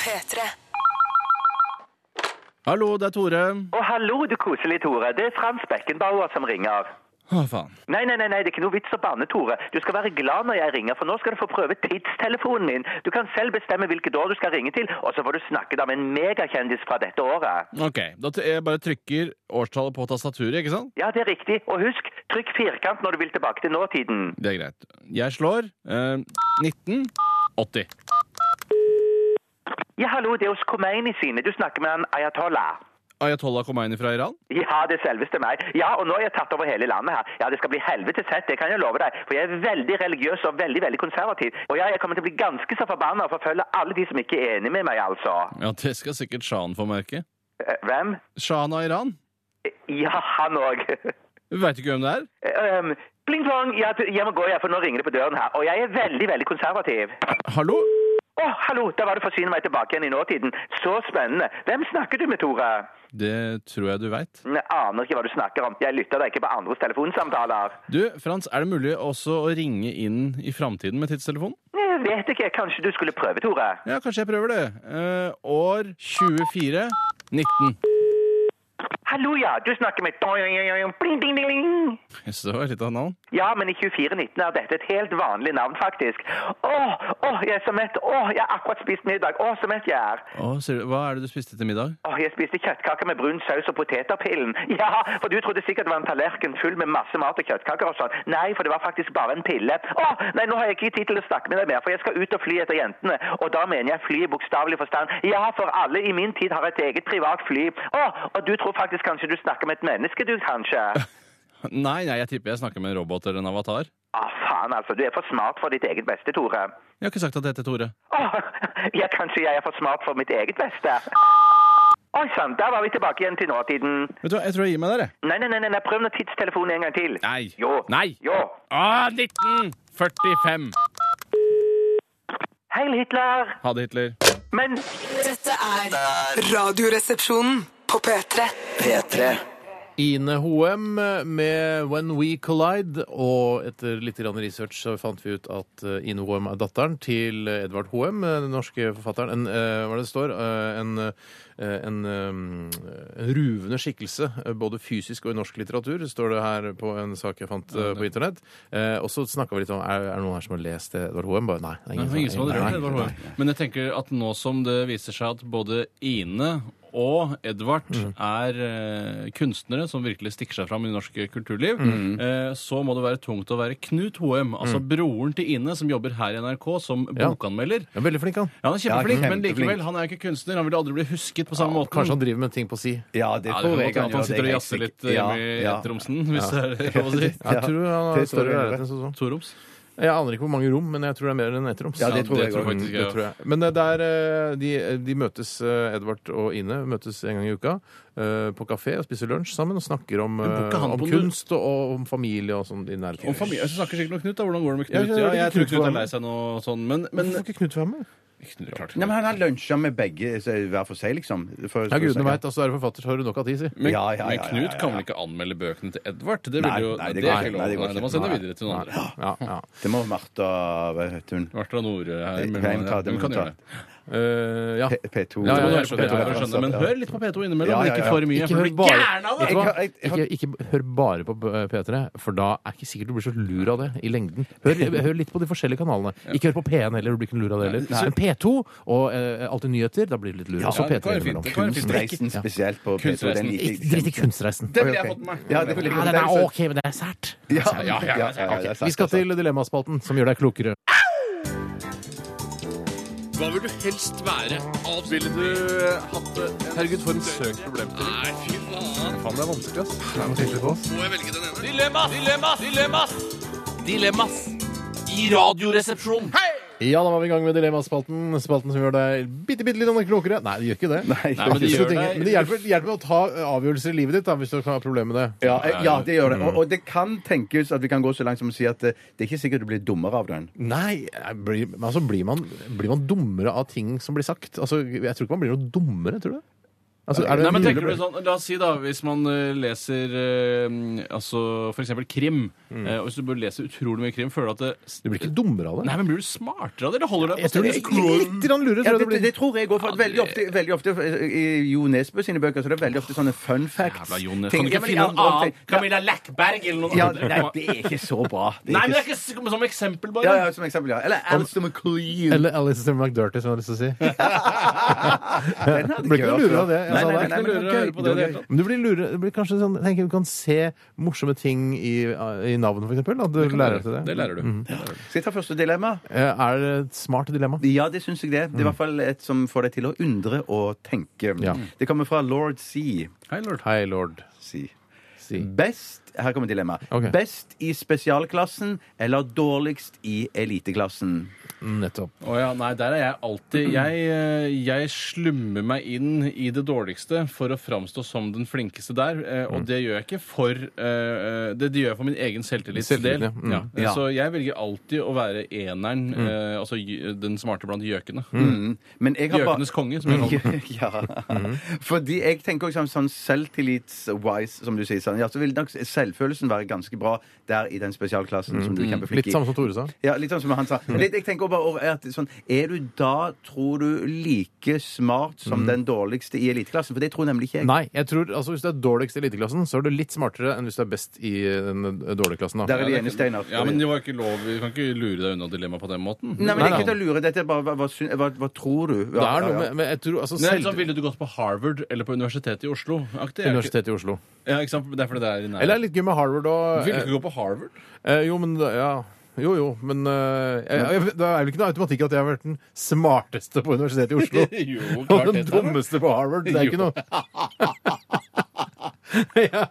P3. Hallo, det er Tore. Og hallo, du koselige Tore. Det er Frans Beckenbauer som ringer. Å, faen. Nei, nei, nei, nei, det er ikke noe vits å banne, Tore. Du skal være glad når jeg ringer, for nå skal du få prøve tidstelefonen din. Du kan selv bestemme hvilket år du skal ringe til, og så får du snakke da med en megakjendis fra dette året. OK. Da t- jeg bare trykker årstallet på tastaturet, ikke sant? Ja, det er riktig. Og husk, trykk firkant når du vil tilbake til nåtiden. Det er greit. Jeg slår eh, 1980. Ja, hallo, det er hos Khomeini sine. Du snakker med han Ayatollah. Ayatollah Khomeini fra Iran. Ja, det selveste meg. Ja, og nå har jeg tatt over hele landet her. Ja, det skal bli helvete fett, det kan jeg love deg. For jeg er veldig religiøs og veldig, veldig konservativ. Og ja, jeg kommer til å bli ganske så forbanna og forfølge alle de som ikke er enig med meg, altså. Ja, det skal sikkert Shahan få merke. Eh, Hvem? Shahan av Iran? Ja, han òg. Veit ikke hvem det er. um, pling plong, ja, du, jeg må gå, jeg, for nå ringer det på døren her. Og jeg er veldig, veldig konservativ. Hallo? Å, hallo, da var det forsyne meg tilbake igjen i nåtiden. Så spennende. Hvem snakker du med, Tore? Det tror jeg du veit. Jeg aner ikke hva du snakker om. Jeg lytter da ikke på andres telefonsamtaler. Du, Frans, er det mulig også å ringe inn i framtiden med tidstelefonen? Jeg vet ikke, kanskje du skulle prøve, Tore? Ja, kanskje jeg prøver det. Eh, år 24 19. hallo, ja, du snakker med Bling, ding, ding, ding. Jeg synes det var litt av et navn. Ja, men i 2419 er dette et helt vanlig navn, faktisk. Åh, åh, jeg er så mett. Åh, jeg har akkurat spist middag. Åh, så mett jeg er. Å, ser du, hva er det du spiste til middag? Åh, jeg spiste kjøttkaker med brun saus og poteterpillen. Ja, for du trodde sikkert det var en tallerken full med masse mat og kjøttkaker og sånn. Nei, for det var faktisk bare en pille. Åh, nei, nå har jeg ikke tid til å snakke med deg mer, for jeg skal ut og fly etter jentene. Og da mener jeg fly i bokstavelig forstand. Ja, for alle i min tid har et eget privat fly. Åh, og du tror faktisk kanskje du snakker med et menneske, du, kanskje? Nei, nei, jeg tipper jeg snakker med en robot eller en avatar. Åh, faen altså, du er for smart for ditt eget beste, Tore. Jeg har ikke sagt at det heter Tore. Åh, ja, kanskje jeg er for smart for mitt eget beste. Oi sann, der var vi tilbake igjen til nåtiden. Vet du hva, jeg tror jeg gir meg der, jeg. Nei, nei, nei, nei, nei, prøv nå tidstelefonen en gang til. Nei. Jo. Nei. Jo. Ah, 1945! Heil Hitler. Ha det, Hitler. Men Dette er Radioresepsjonen på P3. Ine Hoem med When We Collide. Og etter litt grann research så fant vi ut at eh, Ine Hoem er datteren til Edvard Hoem, eh, den norske forfatteren. En, eh, hva er det det står? Eh, En, eh, en, eh, en ruvende skikkelse, eh, både fysisk og i norsk litteratur, står det her på en sak jeg fant eh, på internett. Eh, Og så snakka vi litt om er, er det noen her som har lest Edvard Hoem. Bare nei. det er Nei, det var ingen som hadde nei, rørt Edvard nei. Hoem. Men jeg tenker at nå som det viser seg at både Ine og Edvard Mm. er eh, kunstnere som virkelig stikker seg fram i norsk kulturliv, Mm. eh, så må det være tungt å være Knut Hoem, altså broren til Ine, som jobber her i NRK som Ja. bokanmelder. Ja, veldig flink, han. Ja, han er kjempeflink, Ja, men likevel, kjempeflink. han er jo ikke kunstner. Han ville aldri bli husket på samme måte. Kanskje han driver med ting på si. Ja, det ja, det tror kan jeg godt hende at han sitter og jazzer litt eh, hjemme i etteromsen, hvis det er lov å si. Jeg tror han har det står større det. leilighet enn sånn som så. Toroms. Jeg aner ikke hvor mange rom, men jeg tror det er mer enn ett rom. Ja, det tror jeg også. faktisk Det jeg tror jeg. Men eh, der, eh, de, de møtes, eh, Edvard og Ine, møtes en gang i uka eh, på kafé og spiser lunsj sammen og snakker om, Men bor ikke eh, han om på kunst og, og om familie og sånn i nærheten. Om familie, Jeg snakker sikkert om Knut. da, Hvordan går det med Ja, jeg- Knut? jeg Ja, vet jeg ikke tror Knut Knut var er med. lei seg nå og sånn, men, men Hvorfor får ikke Knut være med? Knut, klart ikke. Nei, men Han har lunsja med begge så hver for seg, liksom. For, Ja, gudene veit. Altså, er du forfatter, så har du nok av tid, si. Men, Ja, ja, ja, men ja, Knut ja, ja. kan vel ikke anmelde bøkene til Edvard? Det, vil Nei, jo, nei, det det, går ikke. er ikke lov. Nei, det går Nei, Det må ikke. sende Nei. videre til noen andre. Ja, ja. Det må Martha vet hun. Martha Nore her. Hvem mellom- kan- det Hvem må kan du ta. gjøre det? Eh, ja. P- P2. Ja, Du ja, må ja, høre på P2 for å skjønne, Men hør litt på P2 innimellom, Ja, men ja, ikke ja. for mye. Ikke For hør du blir bare, gæren av det! Vet du hva? Jeg- jeg- ikke, ikke b- hør bare på b- P3, for da er ikke sikkert du blir så lur av det i lengden. Hør, hør litt på de forskjellige kanalene. Ikke hør på P1 heller, du blir ikke lur av det heller. Men P2 og eh, Alltid nyheter, da blir du litt lur. Ja, Og så det kan P3 være fint, innimellom. det kan være fint. Kunstreisen spesielt på P2. Kunstreisen. Den gikk Ikke- Drit i kunstreisen. Det ville jeg fått med meg. Ja, det ville Ja, den er OK, men det er sært. Ja, ja, ja, ja, ja, det er sant, Vi skal det er sant. til Dilemmaspalten, som gjør deg klokere. Hva vil du helst være? Ville du eh, hatt det? Herregud, for en søk problemstilling. Nei, fy faen. Faen, det er vanskelig, ass. Må jeg velge den ene? Dilemmas! Dilemmas! Dilemmas! Dilemmas! I radioresepsjonen. Ja, da var vi i gang med Dilemmaspalten. Spalten som gjør deg bitte, bitte litt klokere. Nei, det gjør ikke det. Nei, Nei, men det Ikke gjør så ting- deg- Men det hjelper, det hjelper å ta avgjørelser i livet ditt da, hvis du har problemer med det. Ja, eh, ja, det gjør det. Og, og det kan tenkes at vi kan gå så langt som å si at eh, det er ikke sikkert du blir dummere av den. Nei, jeg blir, men altså blir man, blir man dummere av ting som blir sagt? Altså, jeg tror ikke man blir noe dummere, tror du? Altså, er det Nei, mulig men å tenker du bli- sånn, La oss si, da, hvis man eh, leser eh, altså, for eksempel krim eh, og Hvis du burde lese utrolig mye krim, føler du at det Du blir ikke dummere av det? Nei, men Blir du smartere av det, eller holder det jeg tror du det, litt grann lurer, Ja, tror det, jeg det blir. det tror jeg òg, for at veldig ofte, veldig ofte eh, i Jo Nesbø sine bøker så er det veldig ofte sånne fun facts. Jævla Jon, Ting- Ja, Kan du ikke men finne en andre ting- annen? Camilla Lackberg eller noe Ja, annet? nei, det er ikke så bra. Nei, men det er ikke s- som eksempel, bare. ja, ja, som eksempel, ja. Eller Alistair McLean. Eller Alice McDirty, som jeg har lyst til å si. Den hadde Du blir ikke noe hørt lurere før. av det. Nei, Altså, nei, det er nei, ikke men noe det var lurere å gøy, høre på det i det hele tatt. Men du blir lurere, det blir kanskje sånn, jeg tenker du kan se morsomme ting i, i navnet, for eksempel. At du lærer til det. Det lærer du. Mhm. Det lærer du. Skal jeg ta første dilemma? Eh, Er det et smart dilemma? Ja, det syns jeg det. Det er i hvert fall et som får deg til å undre og tenke. Mm. Ja. Det kommer fra lord C. Hei, lord. Hei, lord. C. Si. Best Her kommer dilemmaet. Ok. Best i spesialklassen eller dårligst i eliteklassen? Nettopp. Å ja, nei, der er jeg alltid jeg, eh, jeg slummer meg inn i det dårligste for å framstå som den flinkeste der. eh, Og Mm. det gjør jeg ikke for eh, Det, det gjør jeg for min egen selvtillits Selvtillit, del. ja. Mm. Ja. Ja. Så jeg velger alltid å være eneren, eh, altså gj- den smarte blant gjøkene. Mm. Men jeg har bare Gjøkenes konge, som jeg kaller den. ja. Mm. Fordi jeg tenker også sånn- sånn selvtillits-wise, som du sier. Sånn, ja, så vil nok selv, selvfølelsen være ganske bra der i den spesialklassen som du er kjempeflink Mm. Litt i. samme som Tore sa. Ja, litt sånn som han sa. Men det, jeg tenker bare over at sånn, Er du da, tror du, like smart som den dårligste i eliteklassen? For det tror nemlig ikke jeg. Nei, jeg tror, altså hvis du er dårligst i eliteklassen, så er du litt smartere enn hvis du er best i den eh, dårlige klassen. Da. Der er vi enige, Steinar. Ja, men det var ikke lov. Vi kan ikke lure deg unna dilemmaet på den måten. Nei, men det er Nei, ikke til å lure. Dette er bare hva, hva, syn- hva, hva tror du? Det Ja, er ja, noe ja. med, men jeg tror, altså, Nei, sånn selv, så Ville du gått på Harvard eller på Universitetet i Oslo? Aktig, er ikke- Universitetet i Oslo. Ja, ikke sant? Det er fordi det er i nærheten. Eller det er litt gøy med Harvard og Ville du ikke gå på Harvard? eh, Jo, men da- ja. Jo, jo, men eh, jeg, jeg, det er vel ikke noe automatikk at jeg har vært den smarteste på Universitetet i Oslo. Jo, klart Og den det, Tara. dummeste på Harvard. Det er ikke noe ja. Nei, ja.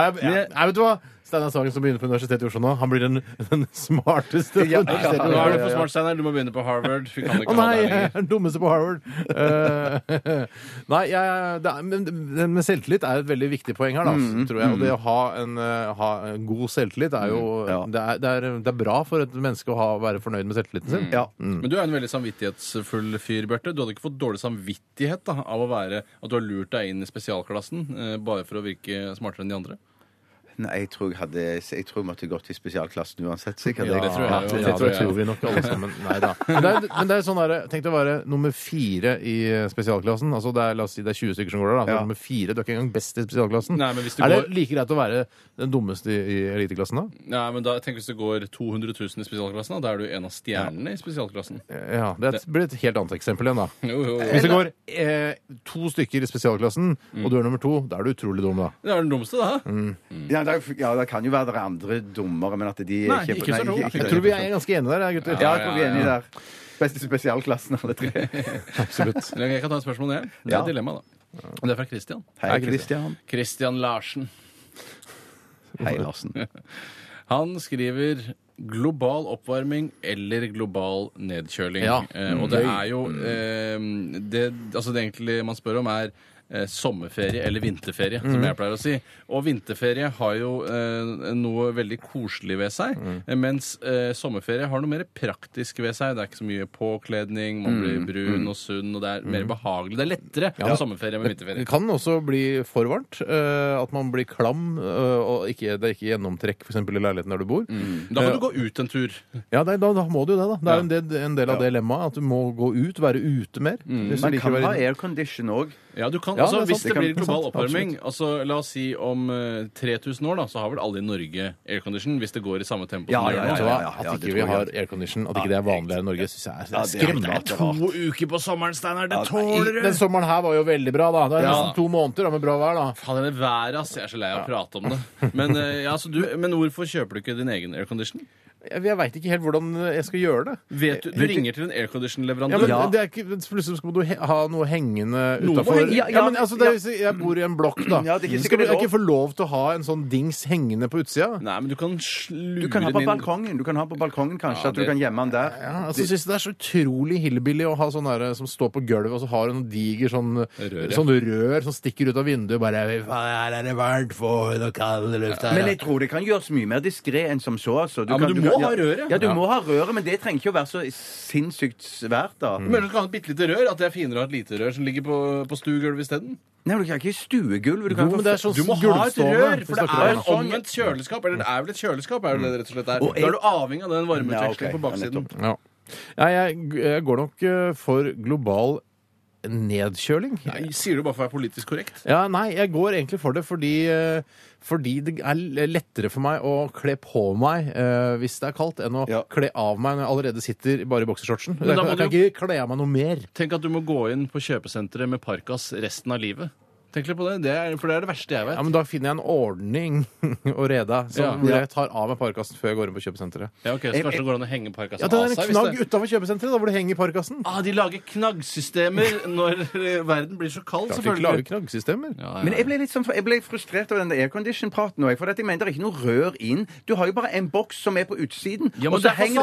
Nei, vet du hva? Steinar Sagen som begynner på Universitetet i Oslo nå, han blir den, den smarteste. på Ja, ja, Ja, Universitetet i Nå Oslo. er du for smart, Steinar. Du må begynne på Harvard. Vi kan Å ikke ha nei, deg jeg lenger. er den dummeste på Harvard. Eh, nei, jeg, det er, men, men men selvtillit er et veldig viktig poeng her, da, Mm, tror jeg. Og det å ha en, eh, ha en god selvtillit er jo Mm, ja. det, er, det, er, det er bra for et menneske å ha, være fornøyd med selvtilliten Mm. sin. Mm. Ja. Men du er en veldig samvittighetsfull fyr, Bjarte. Du hadde ikke fått dårlig samvittighet da, av å være at du har lurt deg inn i spesialklassen eh, bare for å virke smartere enn de andre? Nei, jeg tror jeg hadde Jeg tror jeg måtte gått i spesialklassen uansett, sikkert. Ja, det tror jeg Ja, jo. det, Ja, tror, det tror vi nok alle sammen. Nei da. Men det er, men det er sånn der, Tenk deg å være nummer fire i spesialklassen. Altså det er, la oss si det er 20 stykker som går der. Da. Du er Ja. Nummer fire, Du er ikke engang best i spesialklassen. Nei, men hvis du er det går- like greit å være den dummeste i, i eliteklassen, da? Nei, men da, tenk hvis det går 200 000 i spesialklassen, da. Da er du en av stjernene i spesialklassen. Ja, Det er et- blir et helt annet eksempel igjen, da. Jo, jo, Hvis jo. det går eh, to stykker i spesialklassen, og du er nummer to, da er du utrolig dum, da. Det er den dummeste, da. Mm. Ja, det, er- ja, det kan jo være dere andre dummere, men at de Nei, ikke så dumme. Jeg tror vi er ganske enige der, jeg, gutter. Ja, jeg tror vi er enige der. Beste spesialklassen, alle tre. absolutt. Eller Jeg kan ta et spørsmål, jeg. Det er Ja. et dilemma, da. Det er fra Christian. Hei, Christian. Christian Larsen. Hei, Larsen. Han skriver global oppvarming eller global nedkjøling. Ja. Eh, og det er jo eh, det, altså det egentlig man spør om, er eh, sommerferie eller vinterferie, som jeg pleier å si. Og vinterferie har jo eh, noe veldig koselig ved seg, eh, mens eh, sommerferie har noe mer praktisk ved seg. Det er ikke så mye påkledning, man blir brun og sunn, og det er mer behagelig. Det er lettere med sommerferie enn med vinterferie. Det kan også bli for varmt. eh, at man blir klam, eh, og ikke, det er ikke gjennomtrekk for eksempel i leiligheten der du bor. Mm. Da må du gå ut en tur. Ja, det, da, da må du jo det, da. Det er jo en del, en del av dilemmaet at du må gå ut, være ute mer. Hvis du Man liker å Mm. kan ha være inne. aircondition òg. Ja, du kan, Ja, altså, det er sant. Hvis det, Det kan- blir det er global sant, oppvarming altså, La oss si om eh, 3000 år, da, så har vel alle i Norge aircondition hvis det går i samme tempo Ja, som det ja, gjør nå. Vet ja, du hva? ja, ja, At det ikke tror vi jeg. har aircondition, at ikke det er vanlig her i Norge, syns jeg er det er skremmende. rart, det er rart. To uker på sommeren, Steinar! Det Den tåler du! sommeren her var jo veldig bra, da. Det er Ja. nesten to måneder da, med bra vær, da. Faen, det været, ass. Jeg er så lei av å prate om det. Men, eh, ja, så du, men hvorfor kjøper du ikke din egen aircondition? Jeg, jeg veit ikke helt hvordan jeg skal gjøre det. Vet du, du ringer til en aircondition-leverandør. Ja, men Ja. Det er ikke, Plutselig skal du he ha noe hengende må utafor. henge- Ja, ja, men altså, det er, hvis jeg bor i en blokk, da. Ja, det er ikke sikkert skal du det er ikke få lov til å ha en sånn dings hengende på utsida? Nei, men du kan slure Du kan ha på din balkongen, du kan ha på balkongen kanskje, Mm. Ja, at du det- kan gjemme den der. Ja, altså, jeg synes det er så utrolig hillbilly å ha sånn der som står på gulvet, og så har hun noen diger sånn rør, Rør, ja. sånn rør som stikker ut av vinduet og bare «Fy faen, Her er det varmt, få noe kald luft her. Men jeg tror det kan gjøres mye mer diskré enn som så. Altså. Ja, men kan- du kan- må ha røret. Ja, du må ha røret, men det trenger ikke å være så sinnssykt svært, da. Du mener du skal ha et bitte lite rør? At det er finere å ha et lite rør som ligger på, på stuegulvet isteden? Nei, men du kan ikke stuegulv. Du Jo, kan men det er sånn Du må ha et gulvstående, rør, vi for det snakker er om. et omvendt kjøleskap. Eller det er vel et kjøleskap, er det det rett og slett er. Og Da jeg- er du avhengig av den Ja, varmeutvekslingen ok. på baksiden. Ja, ja. Nei, jeg, jeg går nok eh, for global nedkjøling. Nei, Sier du bare for å være politisk korrekt? Ja, nei, jeg går egentlig for det fordi, eh, fordi det er lettere for meg å kle på meg eh, hvis det er kaldt, enn å Ja. kle av meg når jeg allerede sitter bare i boksershortsen. Men Jeg, da kan- må jeg kan ikke kle av meg noe mer. Tenk at du må gå inn på kjøpesenteret med parkas resten av livet. Tenk litt på det, det er, For det er det verste jeg vet. Ja, men Da finner jeg en ordning og reda som Ja. hvor jeg tar av meg parkasen før jeg går inn på kjøpesenteret. Ja, ok, Så kanskje det går an å henge parkasen Ja, det av er seg? en hvis knagg det... utafor kjøpesenteret da, hvor det henger parkasen. Ah, de lager knaggsystemer når eh, verden blir så kald, Klart vi ikke lager selvfølgelig. knaggsystemer. Ja, Men jeg ble litt sånn, jeg ble frustrert over den aircondition-praten. også, For at jeg mener det er ikke noe rør inn. Du har jo bare en boks som er på utsiden. Ja, men og så det er henger-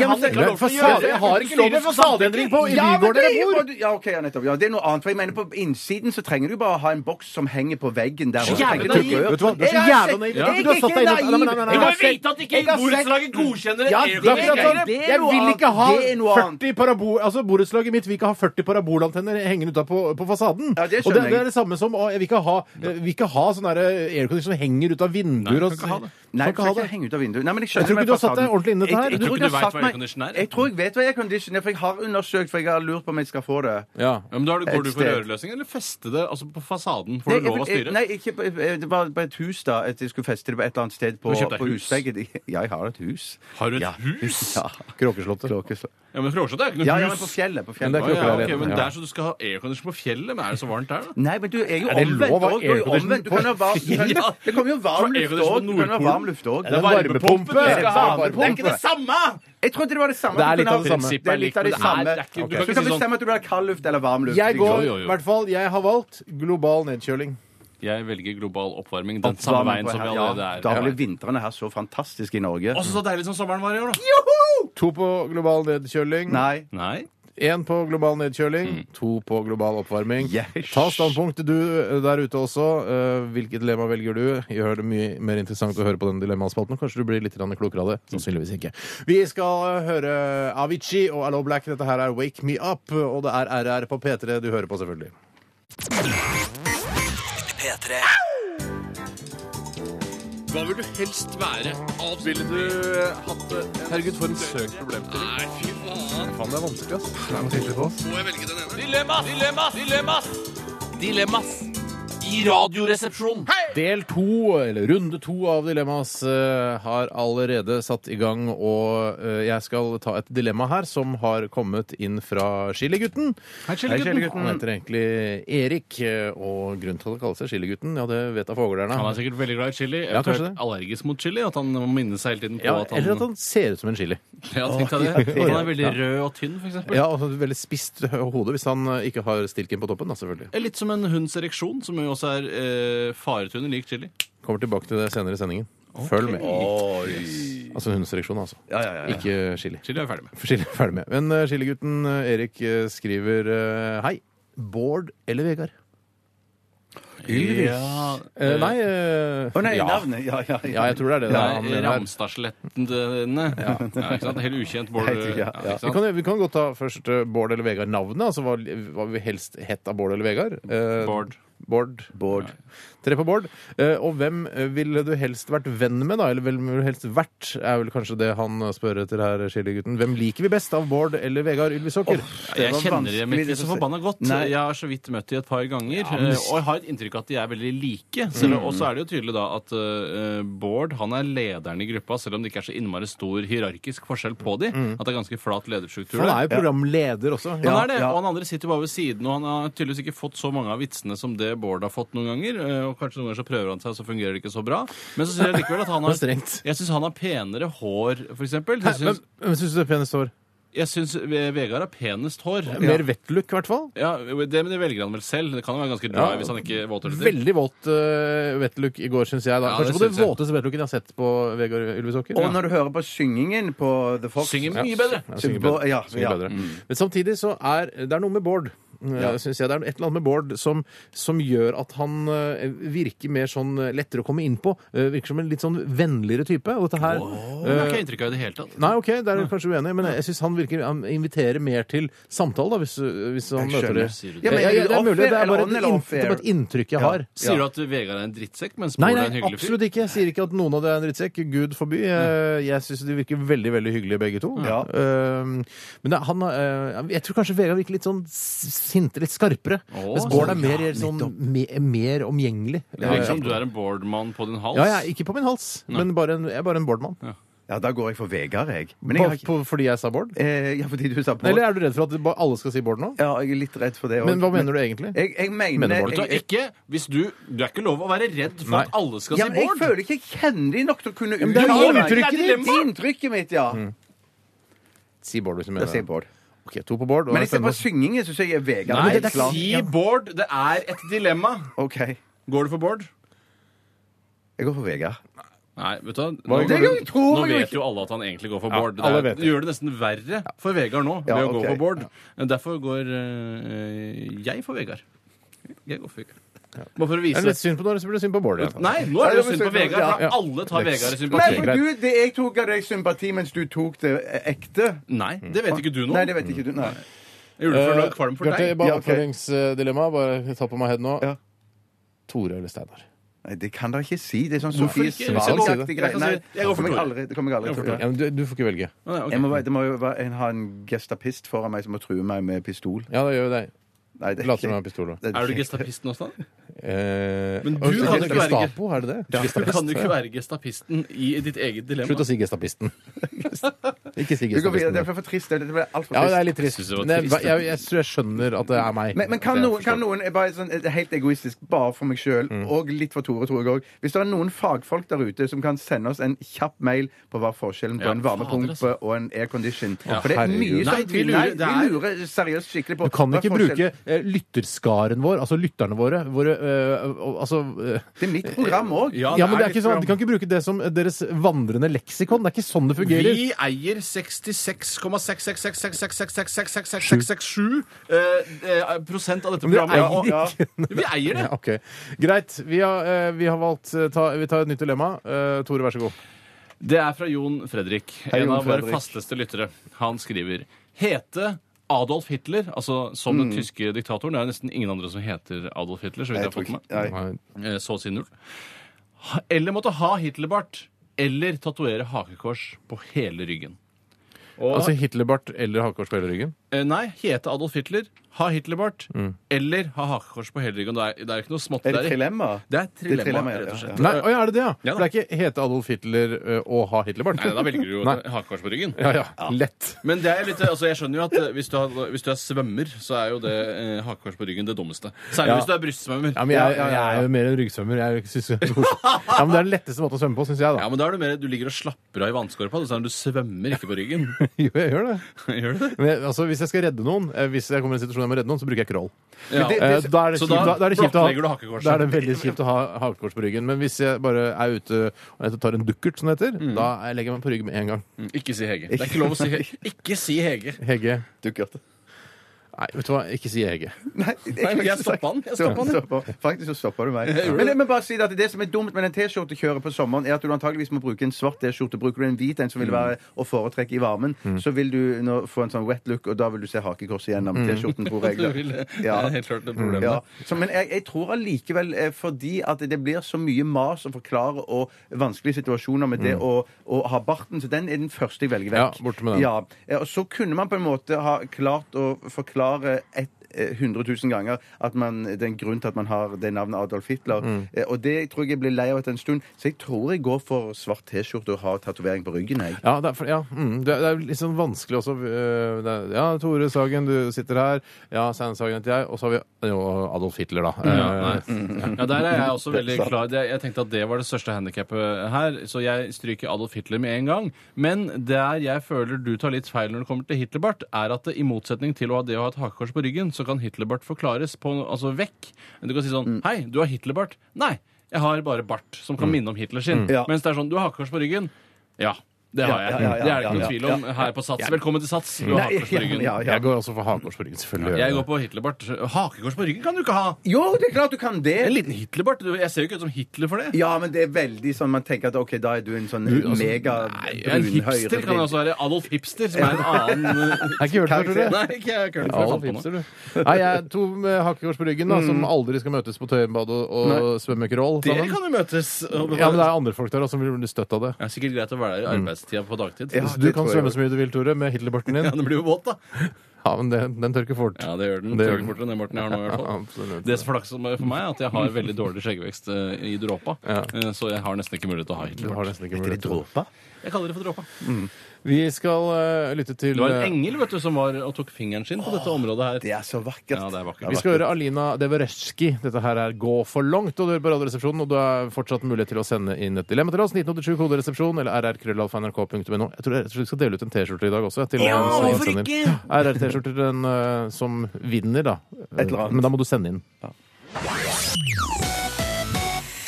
Ja, men han det- ikke har lov til å Fasade- gjøre. Jeg har ikke lov til fasadeendring på i Ja, men Nygården det er jeg jo bor! bare- Ja, ok, ja, nettopp. Ja, det er noe annet. For jeg mener på innsiden så trenger du bare bare ha en boks som henger på veggen der. Så også. jævlig Trenger du naiv. rør? Vet du hva, du er Jeg så har jævla sett- naiv. Jeg er Du har satt deg ikke inn i- Nei, nei, nei, nei, naiv. Jeg nei. Du må har jo sett- jeg har sett- godkjenner Ja, Det er akkurat sånn. Det er Jeg noe vil ikke annet. ha Det er noe annet. 40 parabo... Altså, Borettslaget mitt vil ikke ha 40 parabolantenner hengende utapå på fasaden. Ja, det skjønner og det, jeg. det er det samme som å, jeg vil ikke ha, jeg vil ikke ha sånn derre aircondition som henger ut av vinduer. Nei, og- kan ikke ha det. Nei, du skal Kan ikke ha ikke det. henge ut av vinduet. Nei, men jeg, Jeg skjønner tror meg ikke du har satt fasaden. deg ordentlig inn i dette her. jeg Jeg tror ikke du har vet satt hva meg- aircondition er. Jeg tror jeg vet hva aircondition er, for jeg har undersøkt, for jeg har lurt på om jeg skal få det. Ja. Ja, men da er det- Går du for Et sted. rørløsning, eller feste det altså på fasaden? Får Nei, du lov jeg- å jeg- styre? Nei, ikke, på- eh, det var på et hus, da. At jeg skulle feste det på et eller annet sted på, Du kjøpte et på hus? husveggen. Ja, jeg har et hus. Har du et ja. hus? Ja. Kråkeslottet. Kråkeslå- Ja, men Kråkjøtt er jo ikke Ja, noe ja, men hus. på fjellet. På Men det fjellet. er Å, ikke ja, akkurat ok, men ja. Der så du skal ha aircondition på fjellet? Men er det så varmt der, da? Nei, men du er jo Er det omvendt lov å ha òg. Du er jo aircondition omvendt. Du kan ha varm, du kan, Ja. det kommer jo varm For luft aircondition på òg. Du kan ha Nordpolen. varm luft òg. Er det en varmepumpe? Varmepumpen Er det en skal ha den. Det er ikke det varmepumpe? samme! Jeg trodde det var det samme. Det Du er litt kan av ha- det samme. Det er litt av det Prinsippet er likt, men samme. det er- det er ikke- Ok. Så Du du kan ikke kan si sånn- bestemme at du vil ha kald luft eller varm luft. Jeg går, Jo, jo, jo. i hvert fall, jeg har valgt global nedkjøling. Jeg velger global oppvarming den samme Varmen veien på som vi her. allerede Ja, er. Da blir vintrene her så fantastiske i Norge. Også så deilig som sommeren var i år, da. Joho! To på global nedkjøling, Nei. Nei. én på global nedkjøling, to på global oppvarming. Yes. Ta standpunkt du eh, der ute også. Eh, Hvilket dilemma velger du? Gjør det mye mer interessant å høre på den dilemmaspalten. Kanskje du blir litt grann klokere av det. Sannsynligvis ikke. Vi skal eh, høre Avicii og Allo Black. Dette her er Wake Me Up, og det er RR på P3 du hører på, selvfølgelig. P3. Hva vil du helst være? Ville du hatt det? Herregud, for en søk problemstilling. Nei, fy faen. Faen, det er vanskelig, ass. Må jeg velge den ene? Dilemmas! Dilemmas! Dilemmas! Dilemmas! I radioresepsjonen. Del to, eller runde to av Dilemmas, eh, har allerede satt i gang. Og eh, jeg skal ta et dilemma her som har kommet inn fra Chiligutten. Hei, Hei, Skjellegutten. Han heter egentlig Erik, eh, og grunnen til at han kaller seg Chiligutten, ja, det vet da foglerne. Han er sikkert veldig glad i chili. Ja, kanskje Eventuelt det. allergisk mot chili. At han må minne seg hele tiden på ja, at han eller at han ser ut som en chili. Ja, tenk deg det. At Han er veldig rød og tynn, for eksempel. Ja, og så Veldig spist hode hvis han eh, ikke har stilken på toppen, da, selvfølgelig. Litt som en hunds ereksjon, som jo også er eh, faretruende lik chili. Kommer tilbake til det senere i sendingen. Følg med. Altså hundseleksjon, altså. Ja, ja, ja, ja. Ikke chili. Chili er vi ferdig med. Skille, ferdig med. Men uh, Skillegutten eh, Erik eh, skriver eh, Hei. Bård eller Vegard? Ylvis. Ja, Eh, nei eh, Å nei, ja. navnet. Ja, ja, ja, jeg tror det er det. da, han Nei, mener her. Ramstadslettene. Ja. ikke sant? Helt ukjent Bård. Helt ukjent, Ja, ikke vi sant? kan, vi kan godt ta først eh, Bård eller Vegard navnet. Altså hva, hva vi helst hett av Bård eller Vegard. Eh, Bård. Bård. Bård. Tre på Bård. Eh, og hvem eh, ville du helst vært venn med, da? Eller hvem ville du helst vært, er vel kanskje det han eh, spør etter her, Skillegutten. Hvem liker vi best av Bård eller Vegard Ylvisåker? Det Jeg var kjenner dem vanskelig ikke så forbanna godt. Nei. Jeg har så vidt møtt dem et par ganger. men- eh, Og jeg har et inntrykk av at de er veldig like. Selv, Og så er det jo tydelig da at eh, Bård han er lederen i gruppa, selv om det ikke er så innmari stor hierarkisk forskjell på de. At det er ganske flat lederstruktur. Han der. er jo programleder også. Han er det, ja. og han andre sitter bare ved siden, og han har tydeligvis ikke fått så mange av vitsene som det Bård har fått noen ganger. eh, Og kanskje noen ganger så prøver han seg, og så fungerer det ikke så bra. Men så synes jeg likevel at han Det er har strengt. Jeg syns han har penere hår, for eksempel. Hæ, Jeg Men, synes- men syns du det er penest hår? Jeg syns Ve- Vegard har penest hår. Mer vettlook, i hvert fall. Ja, det, men det velger han vel selv. Det kan jo være ganske dry Ja. hvis han ikke våter det til. Veldig våt uh, vettlook i går, syns jeg. Da. Ja, det Kanskje på det synes jeg. våteste vettlooken jeg har sett på Vegard Ylvisåker. Og når du hører på syngingen på The Fox Synger mye bedre. Ja, synger bedre. Ja, Synger ja. bedre. Mm. Men samtidig så er det er noe med Bård. Ja. Synes jeg Det er et eller annet med Bård som, som gjør at han eh, virker mer sånn eh, lettere å komme inn på. Eh, virker som en litt sånn vennligere type. Og dette her Det har ikke jeg inntrykk av i det hele tatt. Eh, Nei, OK, der er du kanskje uenig, men jeg syns han virker Han inviterer mer til samtale, da, hvis, hvis han Jeg skjønner. møter det. Sier du det? Ja, men Ja, ja, det er off-air mulig. Det er eller on bare et, eller inn, off-air? det er bare et inntrykk jeg Ja. har. Sier du at Vegard er en drittsekk, mens Nei, Bård er en nei, hyggelig fyr? absolutt ikke. Jeg sier ikke at noen av dere er en drittsekk. Gud forby. Eh, Jeg syns de virker veldig veldig hyggelige, begge to. Ja. Eh, Men det, er- han eh, Jeg tror kanskje Vegard virker litt sånn s- sintere, litt skarpere. Å, mens Bård er sånn, mer, sånn, me- mer omgjengelig. Det virker Eh, som du er en Bård-mann på din hals. Ja, jeg er ikke på min hals, men bare en, jeg er bare en Bård-mann. Ja, da går jeg for Vegard, jeg. Men jeg har På- ikke på- Fordi jeg sa Bård? eh, Ja, fordi du sa på Eller er du redd for at det bare- alle skal si Bård nå? Ja, jeg er litt redd for det òg. Men hva mener du egentlig? Jeg, jeg mener, Mener Bård? Vet du hva, jeg, jeg, ikke, hvis du, du er ikke lov å være redd for Nei. at alle skal ja, si men jeg Bård. føler ikke jeg kjenner de nok til å kunne men det er jo uttale meg. inntrykket Det er ditt. Mm. Inntrykket mitt, ja. Si Bård hvis du Da mener sier jeg det. Bård. Ok, to på Bård. og Men jeg jeg ser stemmer på syngingen, så sier jeg Vegard. Nei, helt klart. si Bård. Det er et dilemma. OK. Jeg Går du for Bård? går for Vegard. Nei, vet du hva? Det Nå, tror jeg nå jo vet ikke. jo alle at han egentlig går for Ja, Bård. alle Det, vet er, det. det gjør det nesten verre for Vegard nå ved Ja, å gå ok. for Bård. Derfor går eh, jeg for Vegard. Jeg går for Vegard. Bare for å Er vise det litt synd på Norge, så blir det synd på Bård. igjen. Nei, nå er det jo synd på Vegard. Ja. for Alle tar Vegard i Nei, sympati. for du, det, jeg tok av deg sympati mens du tok det ekte. Nei, det vet ikke du nå. Nei, det vet ikke du. Nei. Jeg gjorde det for å lage Eh, kvalm for Bjarte, deg. bare Ja, ok. oppfølgingsdilemma. Bare ta på meg head nå. Ja. Tore eller Steinar? Nei, det kan dere ikke si. Det er sånn Hvorfor Sofie ikke? Jeg kan si Svalen-aktig det. greie. Nei, Jeg går kommer for jeg Tore. aldri, det kommer jeg aldri Jeg til går for å Tore. Ja, men du, du får ikke velge. Nei, ok. jeg må, være- det må jo være en, ha en gestapist foran meg som må true meg med pistol. Ja, da gjør vi det. Nei, det Later som jeg har pistol. da. det Er du ikke- gestapisten også, da? Eh, Men du og- kan jo ikke være- Gestapo, er det det? Du kan jo ikke være gestapisten i ditt eget Slutt dilemma. å si gestapisten. Ikke si Vi går videre. Det gestapisten. er for trist. Det blir altfor Ja, trist. det er litt trist. Jeg synes det var Men jeg, trist. jeg, jeg, tror jeg skjønner at det er meg. Men, men kan, At jeg noen, kan noen er bare sånn, eh, Helt egoistisk, bare for meg sjøl, Mm. og litt for Tore, tror jeg òg. Hvis det er noen fagfolk der ute som kan sende oss en kjapp mail på hva forskjellen på Ja, en fader, varmepumpe altså. og en aircondition Ja, For det er herregud. mye som Nei, vi lurer- Nei, det vi er- lurer seriøst skikkelig på Du kan hva ikke forskjellen- bruke eh, lytterskaren vår, altså lytterne våre, våre eh, og- altså eh, Det er mitt program òg. Ja, Ja, men det er litt ikke sånn, program. Du kan ikke bruke det som deres vandrende leksikon. Det er ikke sånn det fungerer. Vi eier 66,66666666667 eh, eh, prosent av dette Men dere programmet. eier og- ikke Vi eier det. Ja, ok. Greit. Vi har, eh, vi har valgt eh, ta, Vi tar et nytt dilemma. Eh, Tore, vær så god. Det er fra Jon Fredrik, Hei, en Jon av våre Fredrik. fasteste lyttere. Han skriver Hete Adolf Hitler, altså som den tyske diktatoren. Det er nesten ingen andre som heter Adolf Hitler, så vidt jeg har fått med meg. Nei. Eh, Så å si null. Ha- Eller måtte ha Hitlerbart. Eller tatovere hakekors på hele ryggen. Og, Altså Hitlerbart eller hakekors på hele ryggen? Eh, Nei, hete Adolf Hitler, ha Hitlerbart, eller ha hakekors på hele ryggen. Det er, det er ikke noe smått Er det der. trilemma? Det er Det er trilemma, trilemma, ja, rett og ja, slett. Nei, å, ja, er det det, ja? Ja For det er ikke hete Adolf Hitler eh, og ha Hitlerbart? Nei, da velger du jo Nei. hakekors på ryggen. Ja, ja. Lett. Men det er litt, altså jeg skjønner jo at eh, hvis du, har, hvis du er svømmer, så er jo det eh, hakekors på ryggen det dummeste. Særlig Ja. hvis du er brystsvømmer. Ja, men jeg, jeg er jo mer en ryggsvømmer. Jeg synes det er morsomt. ja, men det er den letteste måten å svømme på, syns jeg, Ja, da. men da er du mer Du ligger og slapper av i vannskorpa. Du, du svømmer ikke på ryggen. Jo, jeg gjør det. Gjør du det? Men jeg, altså, hvis jeg skal redde noen, eh, hvis jeg kommer i en situasjon der jeg må redde noen, så bruker jeg crawl. Ja. det- Eh, Da er det Så kjipt, da da, da er det kjipt å blottlegger du ha hakekorset. Da er det veldig kjipt å ha hakekors på ryggen. Men hvis jeg bare er ute og jeg tar en dukkert, som det heter, da legger jeg meg på ryggen med en gang. Mm, Ikke si Hege. Det er ikke lov å si Hege. Ikke si Hege. Hege. Dukkert. Nei, vet du hva, ikke si Hege. Nei, Nei, jeg stoppa den. Jeg stoppa den. Stopper. Faktisk så stoppa du meg. Men, men bare si det at Det som er dumt med den T-skjortekjøret på sommeren, er at du antageligvis må bruke en svart T-skjorte. Bruker du en hvit en som Mm. vil være å foretrekke i varmen, så vil du nå få en sånn wet look, og da vil du se hakekors gjennom T-skjorten, tror jeg. Du Mm. vil, det Ja. er helt klart det problemet. Ja. Så, men jeg, jeg tror allikevel, eh, fordi at det blir så mye mas å forklare og vanskelige situasjoner med det Mm. å, å ha barten, så den er den første jeg velger vekk. Ja, bort med den. Ja. Eh, Og så kunne man på en måte ha klart å forklare et eh, 100 000 ganger at man, det er en grunn til at man har det navnet Adolf Hitler. Mm. Eh, Og det tror jeg jeg blir lei av etter en stund, så jeg tror jeg går for svart T-skjorte og har tatovering på ryggen. Jeg. Ja, det er, for- ja, mm, det er, det er litt sånn vanskelig også. øh, det er- Ja, Tore Sagen, du sitter her. Ja, Stein Sagen heter jeg. Og så har vi jo, Adolf Hitler, da. Mm, Ja, Eh, Mm. nei. ja, der er jeg også veldig klar. Jeg, jeg tenkte at det var det største handikappet her, så jeg stryker Adolf Hitler med en gang. Men der jeg føler du tar litt feil når det kommer til Hitlerbart, er at det, i motsetning til å ha det å ha et hakekors på ryggen, så kan Hitlerbart forklares på, altså vekk. Du kan si Mm. sånn Hei, du har Hitlerbart. Nei, jeg har bare bart, som kan minne om Hitler sin. Mm. Ja. Mens det er sånn Du har hakekors på ryggen. Ja. Det har jeg. Ja, ja, ja, det er det ikke ja, noen ja, tvil om her på Sats. Velkommen til Sats. Du har Nei, hakekors på ryggen. ja, ja. Jeg går også for hakekors på ryggen, selvfølgelig. Jeg går på Hitlerbart. Hakekors på ryggen kan du ikke ha! Jo, det er klart du kan det! En liten Hitlerbart? Du, Jeg ser jo ikke ut som Hitler for det. Ja, men det er veldig sånn man tenker at OK, da er du en sånn mega altså, Nei, en brun hipster kan altså- høyreblind. også være Adolf Hipster, som er en annen Jeg eh, har ikke hørt det, tror jeg. Nei, ikke jeg kødder, for jeg Adolf fant på Hitler, noe. du. Nei, jeg er to med hakekors på ryggen, da, som aldri skal møtes på tøyenbad og, og svømmekroll. Dere sammen. kan jo møtes. og- Ja, men det er andre folk der også som vil bli støtt av det. Det er sikkert greit å være der i arbeidstida på dagtid. Ja. Så Mm. du det tror kan jeg svømme også. så mye du vil, Tore, med Hitlerbarten Ja, din. Den blir jo våt, da. Ja, men den, den tørker fort. Ja, det gjør den. Det Det gjør gjør den. fortere enn den Morten jeg har nå, i hvert fall. Absolutt. Det som er flaks for meg, er at jeg har veldig dårlig skjeggvekst eh, i dråpa. eh, Så jeg har nesten ikke mulighet til å ha Du Hitler. har nesten ikke Er det mulighet til det. dråper? Jeg kaller det for dråpa. Vi skal eh, lytte til Det var en eh, engel vet du, som var og tok fingeren sin på dette området her. Det er så vakkert. Ja, det er vakkert. Vi skal høre Alina Devereski. Dette her er Gå for langt. Og du hører på Radioresepsjonen, og du har fortsatt mulighet til å sende inn et dilemma til oss. 1987 koderesepsjon eller rrkrøllalfa.nrk.no. Jeg tror jeg tror vi skal dele ut en T-skjorte i dag også. Til ja, hvorfor ikke? RR-T-skjorte til den eh, som vinner, da. eller annet. Men da må du sende inn.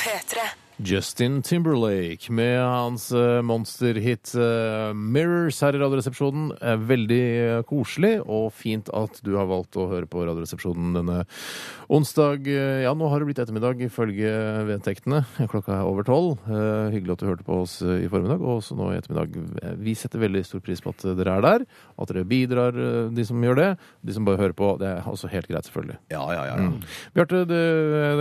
P3. Justin Timberlake med hans eh, monsterhit eh, 'Mirrors' her i Radioresepsjonen. Eh, Veldig eh, koselig, og fint at du har valgt å høre på Radioresepsjonen denne onsdag. Eh, Ja, nå har det blitt ettermiddag ifølge vedtektene. Klokka er over tolv. Eh, Hyggelig at du hørte på oss eh, i formiddag, og også nå i ettermiddag. Eh, Vi setter veldig stor pris på at eh, dere er der, og at dere bidrar, eh, de som gjør det. De som bare hører på, det er også helt greit, selvfølgelig. Mm. Ja, ja, ja. ja. Bjarte, det,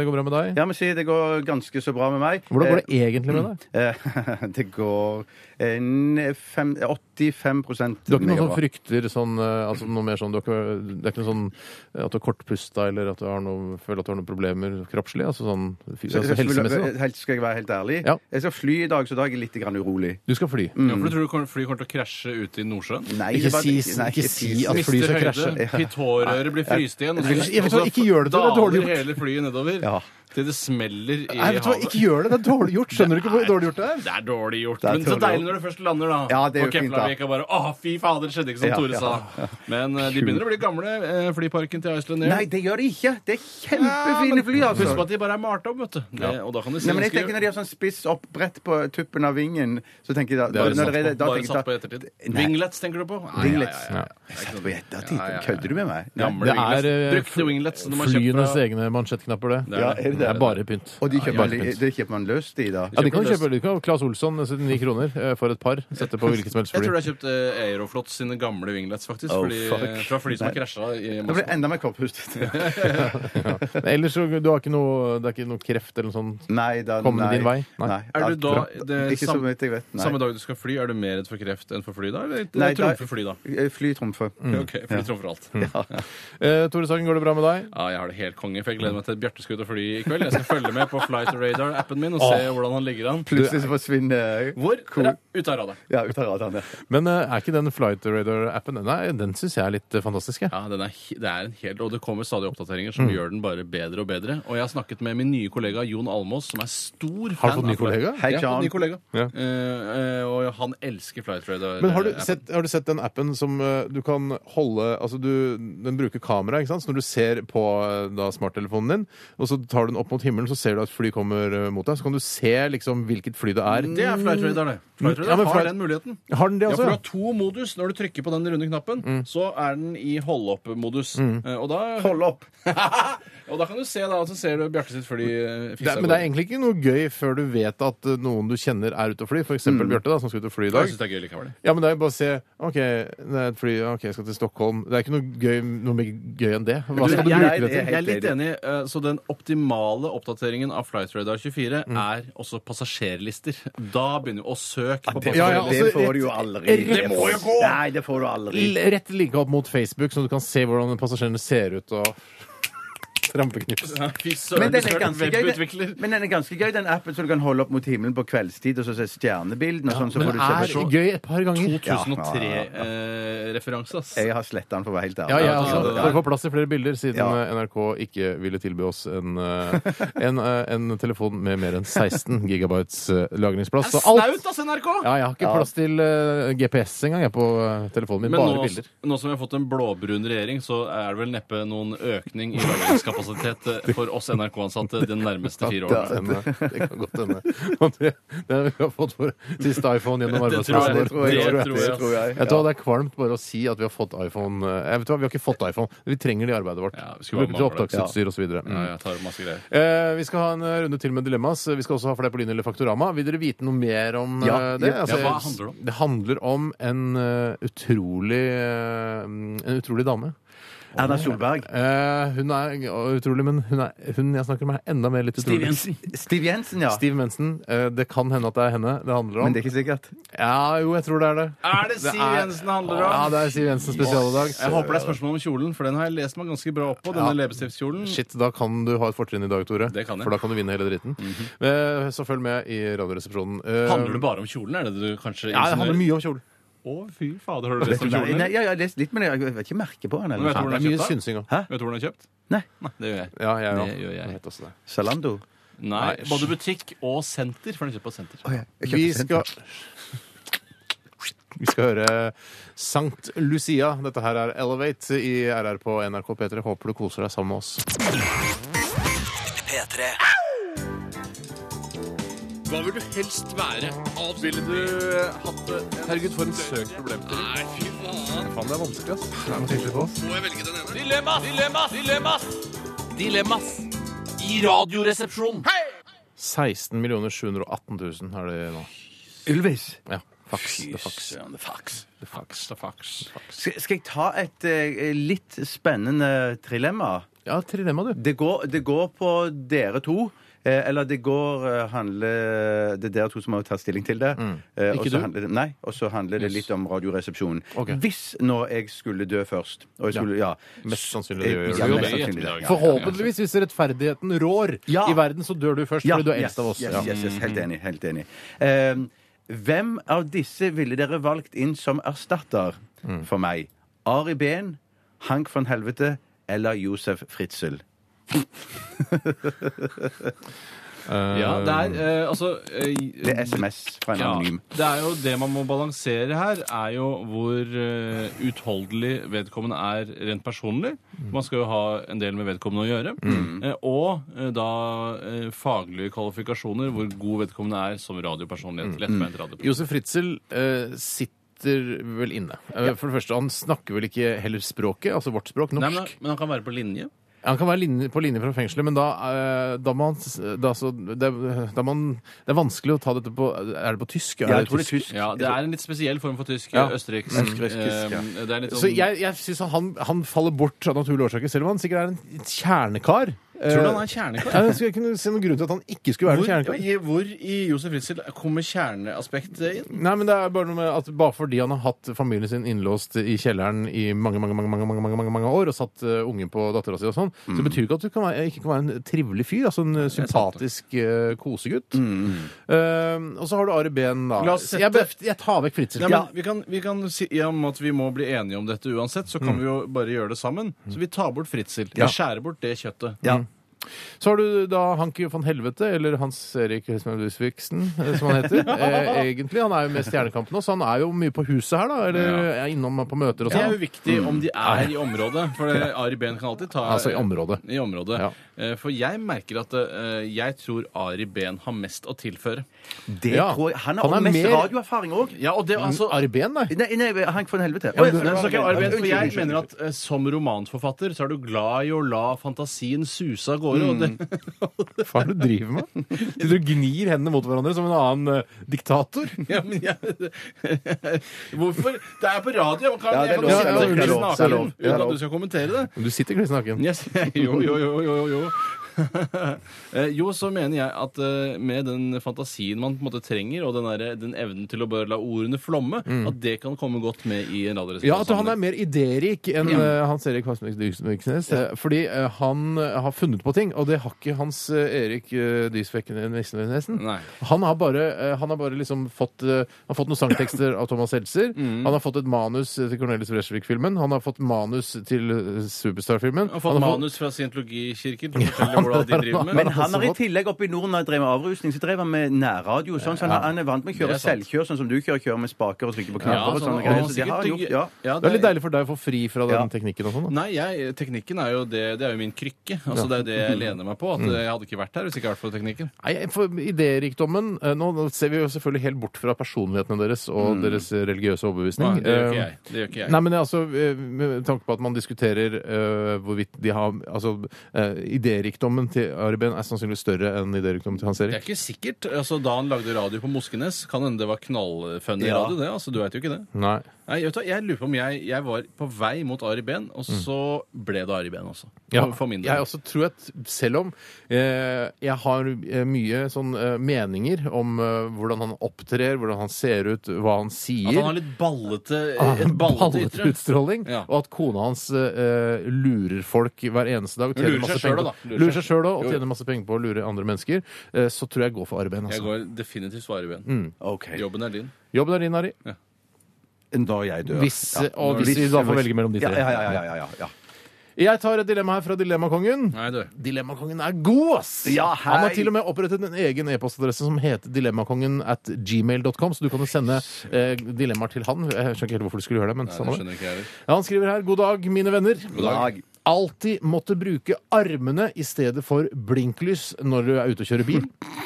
det går bra med deg? Jeg må si det går ganske så bra med meg. Hvordan går det egentlig med deg? Eh, det går eh, n- fem, 85 Du har ikke noe negativt. som frykter sånn, eh, altså noe mer sånn du har ikke, Det er ikke noe sånn eh, at du er kortpusta eller at du har noe, føler at du har noen problemer kroppslig? Altså sånn fy- altså helsemessig? da. Helt, skal jeg være helt ærlig? Ja. Jeg skal fly i dag, så da er jeg litt grann urolig. Du skal fly. Ja, for du tror du kommer- flyet kommer til å krasje ute i Nordsjøen? Nei, Ikke det var- si- ikke si at det. fly- flyet skal krasje. Pitårøret blir fryst igjen. og så- Jeg vet hva, og så ikke gjør det, det er dårlig daler gjort. hele flyet nedover Ja. til det smeller i Nei, vet du hva, havet. ikke gjør det! Det er dårlig gjort! Skjønner du ikke hvor dårlig gjort det er? Det er dårlig gjort. Det er Men så dårlig deilig gjort. når du først lander, da. Ja, det er på jo fint, da. Keflavik og bare Å, fy fader, det skjedde ikke som Ja, Tore ja. sa. Men eh, de begynner å bli gamle, eh, flyparken til Iceland Air. Nei, det gjør det ikke! Det er Ja, men kjempefine fly, altså. Husk på at de bare er malt opp, vet du. Det, og da kan de si Nei, men jeg ganske- tenker Når de har sånn spiss opp brett på tuppen av vingen, så tenker jeg da er når satt det er- da Bare tenker jeg satt på da- ettertid. Nei. Winglets tenker du på? Nei, Winglets. ja, ja, ja. Satt på ettertid? Ja, ja, ja. Kødder du med meg? Nei. Gamle Det er winglets. eh, Brukte winglets som de har kjøpt flyenes fra- egne mansjettknapper, det. er Ja, det. er det Det det? er bare pynt. Og de kjøper, Bare man- pynt. det kjøper man løst i, da? Ja, de kan du kjøper kjøpe. Du kan ha Claes Olsson, 79 kroner, eh, for et par. Sette på hvilket som helst Jeg tror fly. de har kjøpt eh, Aeroflot sine gamle winglets, faktisk. Oh, fordi, fuck. fra fly som har krasja i Da blir Moskva. det enda mer korthustet. Men Ellers så du har ikke noe, det er ikke noe kreft eller noe sånt? Nei da, Kommer det nei. din vei? Nei. Er du da det Ikke så sam- vidt jeg vet, nei. Samme dag du skal fly, er du mer redd for kreft enn for fly da? Eller Nei, da- trumfer fly, da? Eh, Fly trumfer. Mm. Ok, fly trumfer alt. Eh, Tore Sagen, går det bra med deg? Ja, jeg har det helt konge, for jeg gleder meg til at Bjarte skal ut og fly i kveld. Jeg skal følge med på Flight Radar-appen min og se hvordan han ligger an. Plutselig så forsvinner Hvor? Ra- Ut av radaren. Ja, ut av radaren. ja. Men eh, er ikke den Flight Radar-appen Nei, den syns jeg er litt eh, fantastisk. Jeg. Ja, den er, he- det er en helt, og det kommer stadig oppdateringer Mm. som gjør den bare bedre og bedre. Og jeg har snakket med min nye kollega Jon Almås, som er stor fan. Har du fått ny av Flight- kollega? Hei, Jeg har fått Jan. ny kollega. Ja. Eh, eh, og han elsker Flight Radar. Men har du, eh, appen. sett, har du sett den appen som eh, du kan holde Altså du, Den bruker kamera, ikke sant? Så når du ser på eh, da, smarttelefonen din, og så tar du den opp mot himmelen, så ser du at fly kommer eh, mot deg. Så kan du se liksom hvilket fly det er. Det er Flight Radar, det. Flight Ja, Radar men har Flight- den muligheten. Har den det Mm. Ja, også? for du har to modus. Når du trykker på den runde knappen, så er den i holde-opp-modus. Eh, Og da Hold opp! Og da kan du se, da, og så ser du Bjarte sitt fly eh, Det, fisse er- av men det er gårde. egentlig ikke noe gøy før du vet at eh, noen du kjenner er ute og fly. F.eks. Bjarte, da, som skal ut og fly i Mm. Jeg dag. synes det er gøy likevel. Ja, men det er jo bare å se OK, det er et fly, OK, jeg skal til Stockholm. Det er ikke noe gøy, noe mer gøy enn det. Hva Du, skal jeg, du bruke det jeg, til? jeg er litt enig, eh, så den optimale oppdateringen av Flight Radar 24 er også passasjerlister. Da begynner du å søke på Ja, ja, passasjerlister. altså, det får du jo aldri. Det må jo gå! Nei, det får du aldri. L- Rett linka opp mot Facebook, så du kan se hvordan passasjerene ser ut. og Rampeknips. Fy Men søren, den du er skal ganske gøy, webutvikler. den, men den er ganske gøy, den appen så du kan holde opp mot himmelen på kveldstid og så se stjernebildene og sånn. Så Men får du det se er på gøy et par ganger. Ja, ja, ja, 2003-referanse, ass. Jeg har sletta den for å være helt ærlig. Ja, jeg Ja, altså, det der. For å få plass til flere bilder, siden Ja. eh, NRK ikke ville tilby oss en, eh, en, eh, en telefon med mer enn 16 gigabytes eh, lagringsplass. Så alt Snaut, ass, NRK! ja, Jeg har ikke plass til eh, GPS engang jeg, på eh, telefonen min. Men Bare nå, bilder. nå som vi har fått en blåbrun regjering, så er det vel neppe noen økning i lagringskapasitet eh, for oss NRK-ansatte de nærmeste fire Godt årene. hende. eh, Det kan godt hende. Og Det, det vi har fått vår siste iPhone gjennom Det tror jeg, arbeidsplassen det vår. tror jeg, det tror jeg. Det tror jeg. Vet du hva, Det er kvalmt bare å si at vi har fått iPhone. Eh, vet du hva, Vi har ikke fått iPhone. Vi trenger det i arbeidet vårt. Ja, vi vi skulle bruker til være med på det. opptaksutstyr osv. Ja, jeg tar masse greier. Mm. Eh, vi skal ha en eh, runde til med dilemmas. Vi skal også ha flere på linje eller Faktorama. Vil dere vite noe mer om eh, Ja, det? ja. Ja, hva handler det om? Det handler om en eh, utrolig eh, En utrolig dame. Erna Solberg. Eh, hun er utrolig, men hun, er, hun jeg snakker om, er enda mer litt utrolig. Stiv Jensen, ja. Steve Mensen. Eh, det kan hende at det er henne det handler om. Men det er ikke sikkert. Ja, jo, jeg tror det er det. Er det Siv er- Jensen det handler om? Ja, det er Siv Jensen spesial i dag. Jeg håper det er spørsmål om kjolen, for den har jeg lest meg ganske bra opp på. Denne leppestiftkjolen. Mm. Shit, da kan du ha et fortrinn i dag, Tore. Det kan jeg. Mhm. For da kan du vinne hele dritten. Eh, Så følg med i Radioresepsjonen. Eh, Handler det bare om kjolen? Er det det du kanskje Ja, det handler mye om kjole. Å, fy fader, har du lest om Nei, kjolen? nei, ja, jeg har lest litt, men jeg vet ikke merket på den. Men Eller. vet du noe Det hvor den er er mye kjøpt, da? synsing òg. Vet du hvor den er kjøpt? Nei. Nei, det gjør jeg. Ja, jeg òg. Det gjør jeg. vet også det. sånt. Zalando. Nei, både butikk og senter, for den er kjøpt på senter. Å, jeg- jeg kjøpte Vi sent, skal vi skal høre Sankt Lucia. Dette her er Elevate i RR på NRK P3. Håper du koser deg sammen med oss. P3. Hva vil du helst være? Ville du hatt det? Herregud, for en søk problemstilling. Nei, fy faen. Faen, det er vanskelig, ass. Må jeg velge den ene? Dilemmas! Dilemmas! Dilemmas! Dilemmas! I radioresepsjonen. 16 718 000 har de nå. Ylvis. Ja. Fax. Det er fax. Fax. Fax, da, fax, fax. Skal, skal jeg ta et eh, litt spennende trilemma? Ja, trilemma, du. Det går, det går på dere to. eh, Eller det går eh, handler Det er dere to som har tatt stilling til det. Eh, og Mm. Ikke så du? Handler, det- nei. Og så handler det litt om Radioresepsjonen. Ok. Hvis nå jeg skulle dø først og jeg Ja. skulle, ja. Eh, Mest sannsynlig det gjør Ja, du jo mest det. sannsynlig i det. ettermiddag. Ja. Forhåpentligvis, hvis rettferdigheten rår Ja. i verden, så dør du først, fordi du er eldst av oss. Yes, Ja. Mm. yes, yes, helt enig. Helt enig. Ehm, hvem av disse ville dere valgt inn som erstatter Mm. for meg? Ari Behn, Hank von Helvete eller Josef Fritzel? Ja, det er eh, altså eh, Det er SMS fra en ja, anonym. det er jo det man må balansere her, er jo hvor eh, utholdelig vedkommende er rent personlig. Man skal jo ha en del med vedkommende å gjøre. Eh, og eh, da eh, faglige kvalifikasjoner, hvor god vedkommende er som radiopersonlighet. Lettbeint radiopersonlighet. Josef Fritzel eh, sitter vel inne. Eh, For det første, han snakker vel ikke heller språket, altså vårt språk, norsk. Nei, men, men han kan være på linje. Han kan være linje, på linje fra fengselet, men da, eh, da må han s- da, så, det, da må han, det er vanskelig å ta dette på Er det på tysk? Ja, jeg tror det er tysk. Ja, Det er en litt spesiell form for tysk. eh, Ja. Østerriksk. Østerriksk, ja. Eh, det er litt Så sånn, jeg, jeg syns han, han faller bort av naturlige årsaker, selv om han sikkert er en kjernekar. Tror du han er kjernekar? Jeg skulle kunne se noen grunn til at eh, han ikke skulle være en Hvor, kjernekar. i- hvor i Josef Ritzel kommer kjerneaspektet inn? Nei, men det er bare noe med at bare fordi han har hatt familien sin innlåst i kjelleren i mange mange, mange, mange, mange, mange, mange, mange år og satt eh, ungen på dattera si og sånn, Mm. så betyr ikke at du kan være, ikke kan være en trivelig fyr. Altså en eh, sympatisk eh, kosegutt. Eh, og så har du Ari Behn, da. Mm. La oss sette- Jeg, bef- jeg tar vekk Fritzel. Nei, men vi kan, vi kan si i og med at vi må bli enige om dette uansett, så kan Mm. vi jo bare gjøre det sammen. Så vi tar bort Fritzel. Vi skjærer bort det kjøttet. Ja. Så har du da Hanki van Helvete, eller Hans Erik Høsmann Lusviksen, eh, som han heter. eh, egentlig. Han er jo med i Stjernekampen også. Han er jo mye på huset her, da. Eller er innom på møter og Det er sånn. jo viktig om de Mm. er i området, for det- Ari Behn kan alltid ta Altså i området. I området. Ja. Eh, For jeg merker at eh, jeg tror Ari Behn har mest å tilføre. Det Ja. tror jeg. Han Han har er også mest mer- radioerfaring òg. Ja, og det altså... Ari Behn, nei. Nei, nei, Hank von Helvete. men du- Å, ja, Nå snakker jeg om Ari Behn, for jeg Unnskyld, mener at eh, som romanforfatter så er du glad i å la fantasien suse av gårde. Og det, Mm. Hva er det du driver med? Du driver og gnir hendene mot hverandre som en annen eh, diktator. Ja, men jeg Hvorfor? Det er på radio. Man kan, Ja, det er jeg kan lov, det jo er lov, sitte det er kliss lov, det er lov, naken det er uten at lov. du skal kommentere det. Men Du sitter kliss naken. Yes, jo, jo, jo, jo, jo. Eh, Jo, så mener jeg at eh, med den fantasien man på en måte trenger, og den, derre- den evnen til å bare la ordene flomme, at det kan komme godt med i en Ja, at han er radioresepsjon. mer idérik enn eh, Hans Erik Hasmøk Dysnes. eh, Fordi eh, han eh, har funnet på ting, og det har ikke Hans eh, Erik uh, Dysvek Nesnesen. Nei. Han har bare, eh, han har bare liksom fått, eh, han har fått noen sangtekster av Thomas Seltzer. Mm. Han har fått et manus eh, til Cornelis Bresvik-filmen. Han har fått manus til eh, Superstar-filmen. Han har fått manus fra Scientologikirken til å fortelle hvordan de driver med. Men han har i tillegg oppe i Norden når han drev med avrusning, så drev han med nærradio. Sånn, så han, han er vant med å kjøre Det er sant. selvkjør, sånn som du kjører. Kjører med spaker og trykker på Ja, knapper og sånn, sånne og greier. han Så det har han sikkert- gjort, ja. Ja, Det er litt deilig for deg å få fri fra den Ja. teknikken og sånn. da. Nei, jeg, teknikken er jo det, det er jo min krykke. Altså, Det er jo det jeg lener meg på. At Jeg hadde ikke vært her hvis ikke jeg hadde vært for teknikken. Nei, for Idérikdommen eh, Nå nå ser vi jo selvfølgelig helt bort fra personlighetene deres og deres religiøse overbevisning. Mm. Eh, Nei, det gjør ikke jeg. Det gjør ikke jeg. Nei, men altså, eh, Med tanke på at man diskuterer eh, hvorvidt de har altså, eh, Idérikdommen til Ariben er sannsynligvis større enn idérikdommen til Hans Det er Erik. ikke sikkert. altså Da han lagde radio på Moskenes, kan hende det var knallfunny Ja. radio. det, altså Du veit jo ikke det. Nei. Nei, vet du, hva, Jeg lurer på om jeg, jeg var på vei mot Ari Behn, og så ble det Ari Behn også. For- For min Mm. Jeg del. også tror at selv om eh, jeg har eh, mye sånn eh, meninger om eh, hvordan han opptrer, hvordan han ser ut, hva han sier Ah, At han har litt ballete, Han har et en ballete ballet ytre. utstråling, Ja. og at kona hans eh, lurer folk hver eneste dag. og tjener Lurer seg masse selv, penger på- da. Lurer Lurer seg seg sjøl og Jo, jo. tjener masse penger på å lure andre mennesker. Eh, så tror jeg jeg går for arbeid. Jeg Altså. går definitivt for Ari Behn. Mm. OK. Jobben er din. Jobben er din, Ari. Når jeg dør. Hvis, eh, Ja. og hvis vi da får velge mellom de Ja, tre. ja, ja, ja, ja, ja, ja. Jeg tar et dilemma her fra Dilemmakongen. Nei, du. Dilemmakongen er god, ass! Ja, hei. Han har til og med opprettet en egen e-postadresse som heter dilemmakongen at gmail.com, så du kan jo sende eh, dilemmaer til han. Jeg skjønner ikke helt hvorfor du skulle gjøre Sånn det, men Nei, samme det. det skjønner ikke jeg heller. Ja, han skriver her. God dag, mine venner. God dag. alltid måtte bruke armene i stedet for blinklys når du er ute og kjører bil?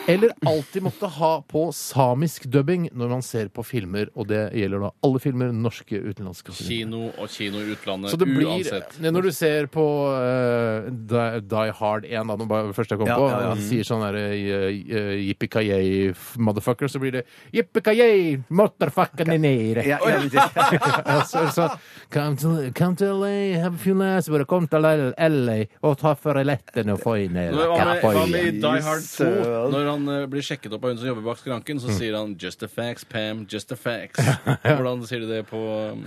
Eller alltid måtte ha på samisk dubbing når man ser på filmer, og det gjelder da alle filmer, norske, utenlandske osv. Kino og kino i utlandet, Så det blir, uansett. Nei, Når du ser på eh, Die, Die Hard 1, da, nå bare det første jeg kom Ja, på, ja, ja. og sier sånn der uh, yippee motherfucker, så blir det yippee motherfucker nere. Ja, ja, det- så, så, come, to, come to LA, have a few nights, but come to LA og ta for lettene og få inn i Hva med, hva med i kapøyen. Die Hard 2? Søren. Når han eh, blir sjekket opp av hun som jobber bak skranken, Mm. så sier han 'just the facts, Pam, just the facts'. Hvordan sier de det på um,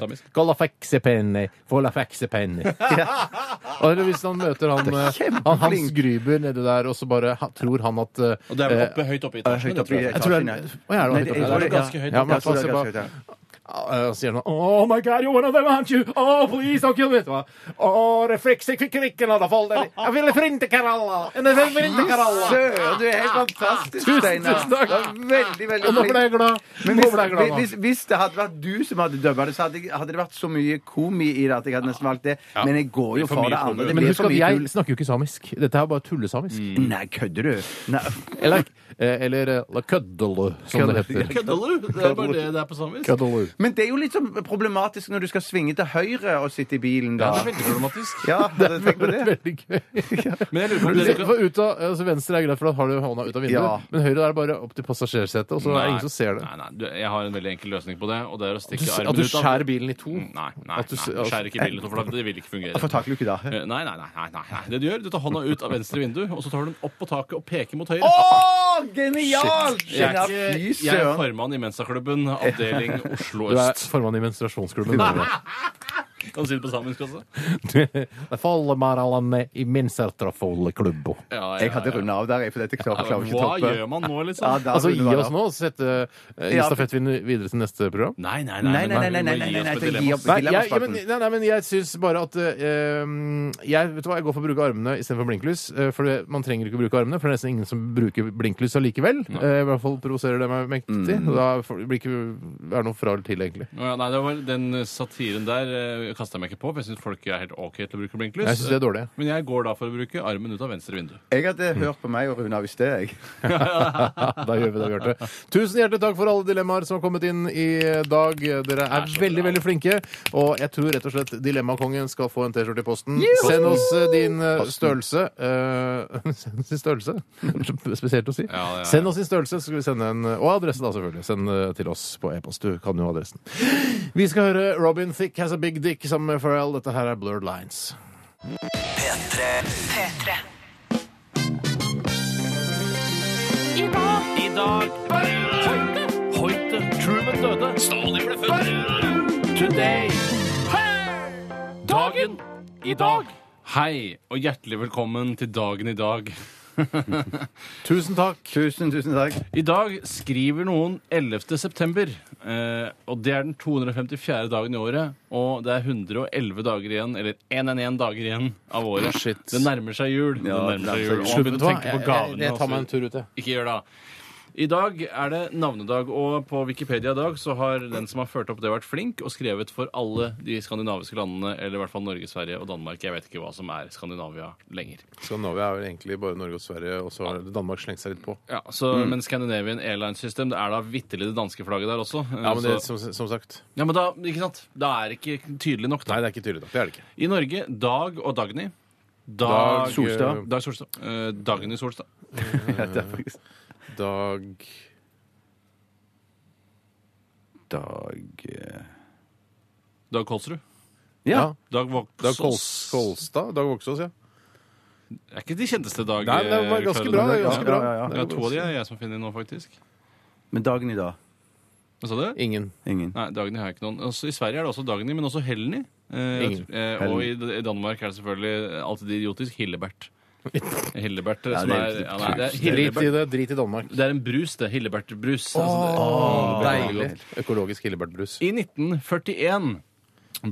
samisk? Golla feksepenny, folla feksepenny. Og eller hvis han møter han, eh, han Hans Gruber nedi der, og så bare ha, tror han at eh, Og det er vel oppe, høyt oppe i etasjen? Høyt det oppe i tror jeg. Jeg tror det etasjen, er- ja. Å, ja, det var Nei, høyt oppe. jeg tror det er ganske høyt Ja, oppe. men Jeg tror det er altså, ganske høyt, ja. Eh, Og så sier han Oh my god, you're one of them, aren't you? Oh, please don't kill me. Vet du hva? Oh, reflekser fikk rikken av det fallet. Jeg ville frinte Karalla. Jeg ville frinte Karalla. Søren, du er helt fantastisk, Tusen, Steinar. tusen takk. Det var Veldig, veldig Og nå flink. ble jeg glad. Men Nå hvis, ble jeg glad. hvis, nå. hvis det hadde vært du som hadde dubba det, så hadde, jeg- hadde det vært så mye komi i det at jeg hadde nesten valgt det. Men jeg går jo for for mye det komi. andre. Det Men blir husk for at mye jeg tull. Mm. snakker jo ikke samisk. Dette er bare tullesamisk. Mm. Nei, kødder du? Nei. Eller, eh, eller eh, la køddelu, som det heter. Kødder du? Det er bare det det er på samisk. Køddelu. Men det er jo litt sånn problematisk når du skal svinge til høyre og sitte i bilen Ja, da. det er veldig problematisk. Ja, hadde du tenkt på det? Veldig gøy. Men jeg lurer på om Du dere ser- kan for ut av, altså venstre er greit, for da har du hånda ut av vinduet. Ja. Men høyre er bare opp til passasjersetet, og så er det ingen som ser det. Nei, nei, du, jeg har en veldig enkel løsning på det, og det er å stikke armen At du ut av skjærer bilen i to. Mm. Nei, nei, At du s- nei, skjærer ikke bilen ut, for da- det vil ikke fungere. Få taklukke, da. Eh, Nei, nei, nei. nei, nei, nei. Det du gjør, du tar hånda ut av venstre vindu, og så tar du den opp på taket og peker mot høyre. Å, genialt! Jeg er, Genialt. Fy ikke, jeg er søren. formann i Mensaklubben, avdeling Oslo Du er øst. formann i menstruasjonsklubben. Nei. Kan du si det på samisk også? Det faller Maralanne i mensertrafolleklubbo. Ja, ja, Jeg hadde runda av der, jeg, for dette klarer klarer ikke å Hva gjør toppe. man nå, Ja, liksom? da Altså, gi runder det oss av. nå og sette eh, Ja. stafettvinden videre til neste program. Nei, Nei, nei, nei, nei, nei, nei, nei, nei, nei, nei, gi opp. Nei, jeg, ja, Dilemmaspalten. men, nei, nei, men jeg syns bare at eh, jeg, vet du hva, jeg går for å bruke armene istedenfor blinklys. eh, for det, man trenger ikke å bruke armene, for det er nesten ingen som bruker blinklys allikevel. Eh, I hvert fall provoserer det meg mektig. og Da får- blir ikke, er det noe fra eller til, egentlig. Å ja, nei, det var den satiren der eh, kastet jeg meg ikke på, for jeg syns folk er helt OK til å bruke blinklys. Jeg syns det er dårlig. Men jeg går da for å bruke armen ut av venstre vindu. Jeg hadde hørt på meg og Rune av i sted, jeg. Da gjør vi det, Bjarte. Tusen hjertelig takk for alle dilemmaer som har kommet inn i dag. Dere er veldig veldig flinke. Og jeg tror rett og slett Dilemmakongen skal få en T-skjorte i posten. Send oss eh, din eh, størrelse. Eh, Send oss din størrelse. Spesielt å si. Ja, ja, ja. Send oss din størrelse, så skal vi sende en Og adresse, da, selvfølgelig. Send eh, til oss på e-post. Du kan jo adressen. Vi skal høre Robin Thick Has A Big Dick sammen med Pharrell. Dette her er Blurred Lines. P3. I dag Hoite Hoite Truman døde Stalin ble født Today Dagen I dag Hei, og hjertelig velkommen til dagen i dag. Tusen takk. Tusen, tusen takk. I dag skriver noen 11. september, eh, og det er den 254. dagen i året, og det er 111 dager igjen, eller 111 dager igjen av året. Det nærmer seg jul. det nærmer seg jul. Og man Vet begynner du hva? å tenke på altså. Jeg- jeg- gavene. Jeg tar og så- meg en tur ut, jeg. Ikke gjør det. I dag er det navnedag, og på Wikipedia i dag så har den som har ført opp det, vært flink og skrevet for alle de skandinaviske landene, eller i hvert fall Norge, Sverige og Danmark. Jeg vet ikke hva som er Skandinavia lenger. Skandinavia er vel egentlig bare Norge og Sverige, og så har Danmark slengt seg litt på. Ja, så, Men Scandinavian Airlines System, det er da vitterlig det danske flagget der også. Ja, men det, Så- som, som sagt. Ja, men da, ikke sant? Da er det ikke tydelig nok. Nei, det Da. er ikke tydelig nok. Det er det ikke. I Norge Dag og Dagny. Dag eh, Dag, Solstad. Dag Solstad. Eh, Dagny Solstad. Ja, det er faktisk- Dag Dag eh, Dag Kolsrud. Ja. Ja. Dag Voksås. Dag Kols Kolstad? Dag Voksås, ja. Det er ikke de kjenteste dag... eh, Nei, det var ganske bra. det er Ganske bra. Ja, ja, ja. Ja, to av de er jeg som finner nå, faktisk. Men dagen i dag? Hva sa du? Ingen. Ingen. Nei, Dagny har jeg ikke noen. Også, I Sverige er det også Dagny, men også Helny. Eh, Ingen. eh, og i, i Danmark er det selvfølgelig alltid idiotisk Hillebert. Hillebert Ja, som det er er, litt ja, nei, det er Drit i Hillebert. det. Drit i Danmark. Det er en brus, det. Hillebert-brus. Åh, det er veldig deilig. godt. Økologisk hillebertbrus. I 1941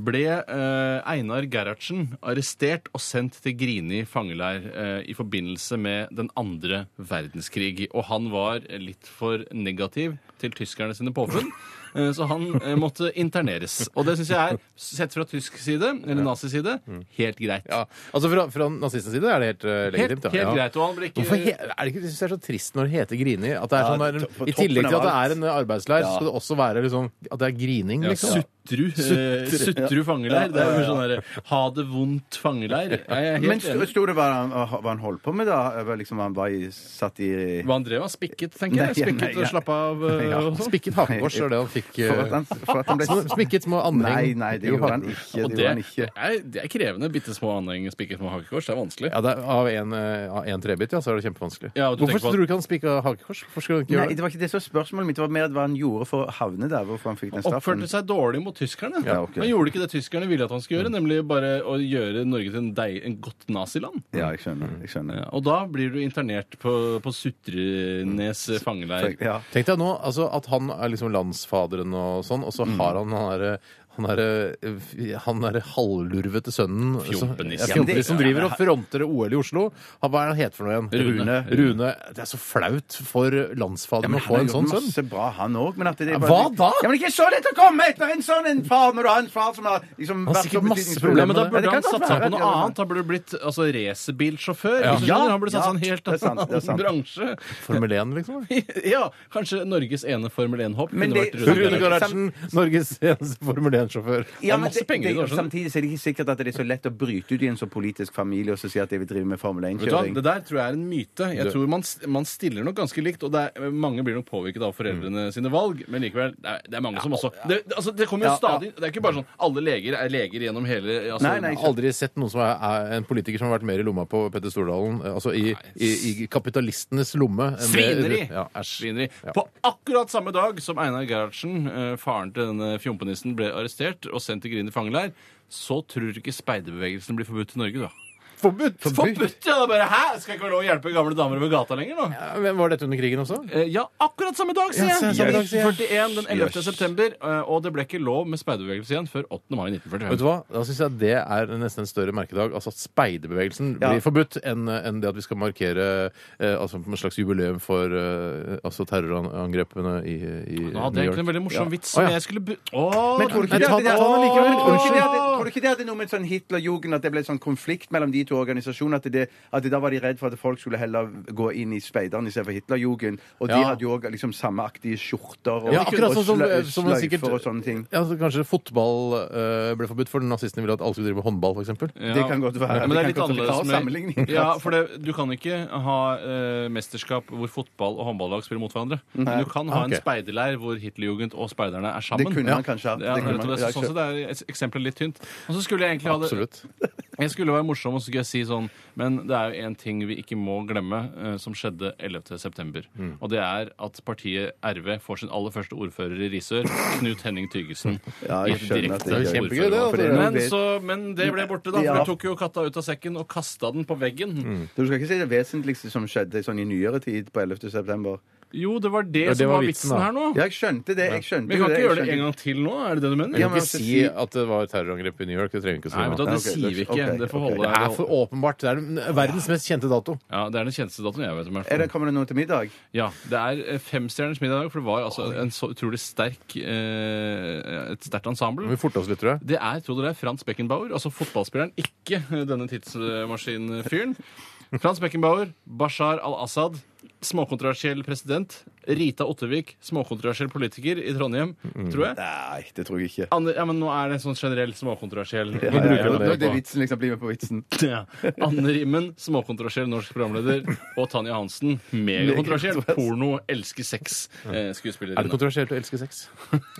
ble eh, Einar Gerhardsen arrestert og sendt til Grini fangeleir eh, i forbindelse med den andre verdenskrig. Og han var litt for negativ til tyskerne sine påfunn. Eh, Så han eh, måtte interneres. Og det syns jeg er, sett fra tysk side, eller naziside, helt greit. Ja, altså Fra, fra nazistenes side er det helt eh, Helt, legitimt. helt ja. greit. Og han ble ikke Hvorfor he er det ikke, jeg synes det er så trist når det heter grining. At det er Ja, sånn der, to- på I tillegg toppen av til at det alt. er en arbeidsleir, Ja. så skal det også være liksom, at det er grining. Ja, liksom. Sutru, eh, Sutru fangeleir. Det er jo sånn derre ha det vondt fangeleir. Jeg er Men helt sto enig. sto det hva han, hva han holdt på med, da? Var Liksom, han var i, satt i Hva han drev av? Spikket, tenker Nei, jeg. Spikket nei, nei. og slapp av. eh, Ja. og sånn. Spikket hakekors er det han fikk. eh, For at han, for at han ble små- Spikket små anheng. Nei, nei, det Jo. gjorde han ikke. Det Og gjorde han ikke. det er, det er krevende. Bitte små anheng spikket med hakekors. Det er vanskelig. Ja, det er, av en, eh, av en trebit, ja, så er det kjempevanskelig. Ja, og du Hvorfor tenker på at- tror du ikke han spikka hakekors? Hvorfor skulle han ikke gjøre Nei, det? det var ikke det som var spørsmålet mitt. Det var mer hva han gjorde for å havne der. Hvorfor han fikk den straffen. Oppførte seg dårlig mot tyskerne. Ja, ok. Mm. Han gjorde ikke det tyskerne ville at han skulle gjøre, nemlig bare å gjøre Norge til en, deig, en godt naziland. Ja, jeg skjønner. Jeg skjønner. Ja, og da blir du internert på, på Sutrenes Mm. fangeleir. Ja. Tenk deg nå altså, at han er liksom landsfaderen og sånn, og så har han han derre han derre han der halvlurvete sønnen Fjompenis. som- ja, fjompenis som driver og fronter OL i Oslo. Han, hva er det han heter for noe igjen? Rune. Rune. Det er så flaut for landsfaderen å han få har en sånn gjort sønn. masse bra, han òg. Men at det Ja, er hva da? Ja, men ikke så lett å komme etter en sånn en far når du har en far som har liksom har vært sikkert så masse betydningsfull. problemer Ja, men da Ja, det burde kan han godt satsa være, på det noe kan annet. Da burde du blitt altså, racerbilsjåfør. Ja. hvis du skjønner. Ja, Han burde ja, satsa en helt det er sant, det er annen sant. bransje. Formel 1, liksom. Ja, kanskje Norges ene Formel 1-hopp Men kunne det- vært Rune Rune. Garasjen, Norges eneste Formel 1-sjåfør. Ja, Det er men masse penger i det, skjønner du. samtidig så er det ikke sikkert at det er så lett å bryte ut i en så politisk familie og så si at jeg vil drive med Formel Vet du hva, 1-kjøring. Det der tror jeg er en myte. Jeg tror Man, man stiller nok ganske likt, og det er, mange blir nok påvirket av foreldrene Mm. sine valg, men likevel, det er, det er mange som også det, det- altså, det kommer jo Ja, ja. stadig Det er ikke bare sånn alle leger er leger gjennom hele altså, Nei, nei, Jeg har aldri sett noen som er, er en politiker som har vært mer i lomma på Petter Stordalen. eh, Altså i, i, i kapitalistenes lomme. enn det- Svineri! Ja, æsj. Svineri. På akkurat samme dag som Einar Gerhardsen, eh, faren til denne fjompenissen, ble arrestert og sendt til Grinde fangeleir, så tror du ikke speiderbevegelsen blir forbudt i Norge, da? Forbudt! Forbudt, ja! Det er bare, Hæ? Skal ikke være lov å hjelpe gamle damer over gata lenger nå? Ja, men Var dette under krigen også? Eh, Ja, akkurat samme dag, sier Ja, jeg! samme dag, sier jeg. 1941, den 11. Jøss. september. eh, Og det ble ikke lov med speiderbevegelse igjen før 8. mai Vet du 1945. hva? Da syns jeg det er nesten en større merkedag. Altså at speiderbevegelsen blir forbudt, enn enn det at vi skal markere eh, altså en slags jubileum for eh, altså terrorangrepene i, i New Nå hadde jeg York. egentlig en veldig morsom vits Å, som ja. jeg skulle bu... Åh, Men tror du ikke Men det ta at det- den allikevel. Tror du ikke det Unnskyld. at det- tror du ikke det hadde noe med sånn Hitlerjugend at det ble sånn konflikt mellom de to organisasjonene? At, det, at det da var de redd for at folk skulle heller gå inn i speideren istedenfor Hitlerjugend? Og de Ja. hadde jo òg liksom sammeaktige skjorter og, Ja, akkurat sånn som, eh, og som slø- sikkert sløyfer og sånne ting. Ja, så kanskje fotball eh, ble forbudt, for nazistene ville at alle skulle drive med håndball, f.eks. ja. Det kan godt være. Men det er Vi litt kan godt ta annerledes sammenligning. med Ja, for det, du kan ikke ha eh, mesterskap hvor fotball og håndballag spiller mot hverandre. Men du kan ha Ok. en speiderleir hvor Hitlerjugend og speiderne er Det sammen. kunne man kanskje ha. Ja, Det kunne rett og man- slett. sånn sett er et- eksempelet litt tynt. Og så skulle jeg egentlig ha det Absolutt. Jeg skulle være morsom, og så skulle jeg si sånn Men det er jo en ting vi ikke må glemme, eh, som skjedde 11. september. Mm. Og det er at partiet RV får sin aller første ordfører i Risør, Knut Henning Tygesen. Ja, jeg i et skjønner at direkte det er kjempegøy, ordførervalg. det, altså. For det er noe Men, ves- så, men det ble borte, da. For Ja. Mm. du tok jo katta ut av sekken og kasta den på veggen. Du skal ikke si det vesentligste som skjedde sånn i nyere tid på 11. september? Jo, det var det, Ja, det som var var vitsen, vitsen da. her nå. Ja, jeg skjønte det. Jeg skjønte Men jeg jo kan ikke jeg gjøre det skjønte- en gang til nå? Er det det du mener? Vi Ja, kan men ikke altså, si si- at det var terrorangrep i New York. Det trenger vi ikke si Nei, vet nå. du, hva, det ok, sier vi det- ikke. ok, Det får ok. holde Det er for åpenbart. Det er den- verdens mest kjente dato. Ja, Det er den kjenteste datoen jeg vet om. i hvert fall. Er det, kommer det noe til middag? Ja, det er eh, femstjerners middag i dag, for det var altså en så utrolig sterk eh, et sterkt Vi ensemble. forter oss litt, tror jeg. Det er, tror dere, det er Frans Beckenbauer, altså fotballspilleren, ikke eh, denne tidsmaskinfyren. Frans Beckenbauer, Bashar al-Assad, småkontroversiell president. Rita Ottervik, småkontroversiell politiker i Trondheim, tror jeg. Nei, det tror jeg ikke. Anne, ja, men nå er det en sånn generell småkontroversiell. Vi Ja, ja, ja, bruker Nå er det det på. vitsen, liksom. Bli med på vitsen. Ja. Anne Rimmen, småkontroversiell norsk programleder. Og Tanja Hansen, megakontroversiell porno, elsker sex, eh, Er det skuespillerinne. kontroversielt å elske sex?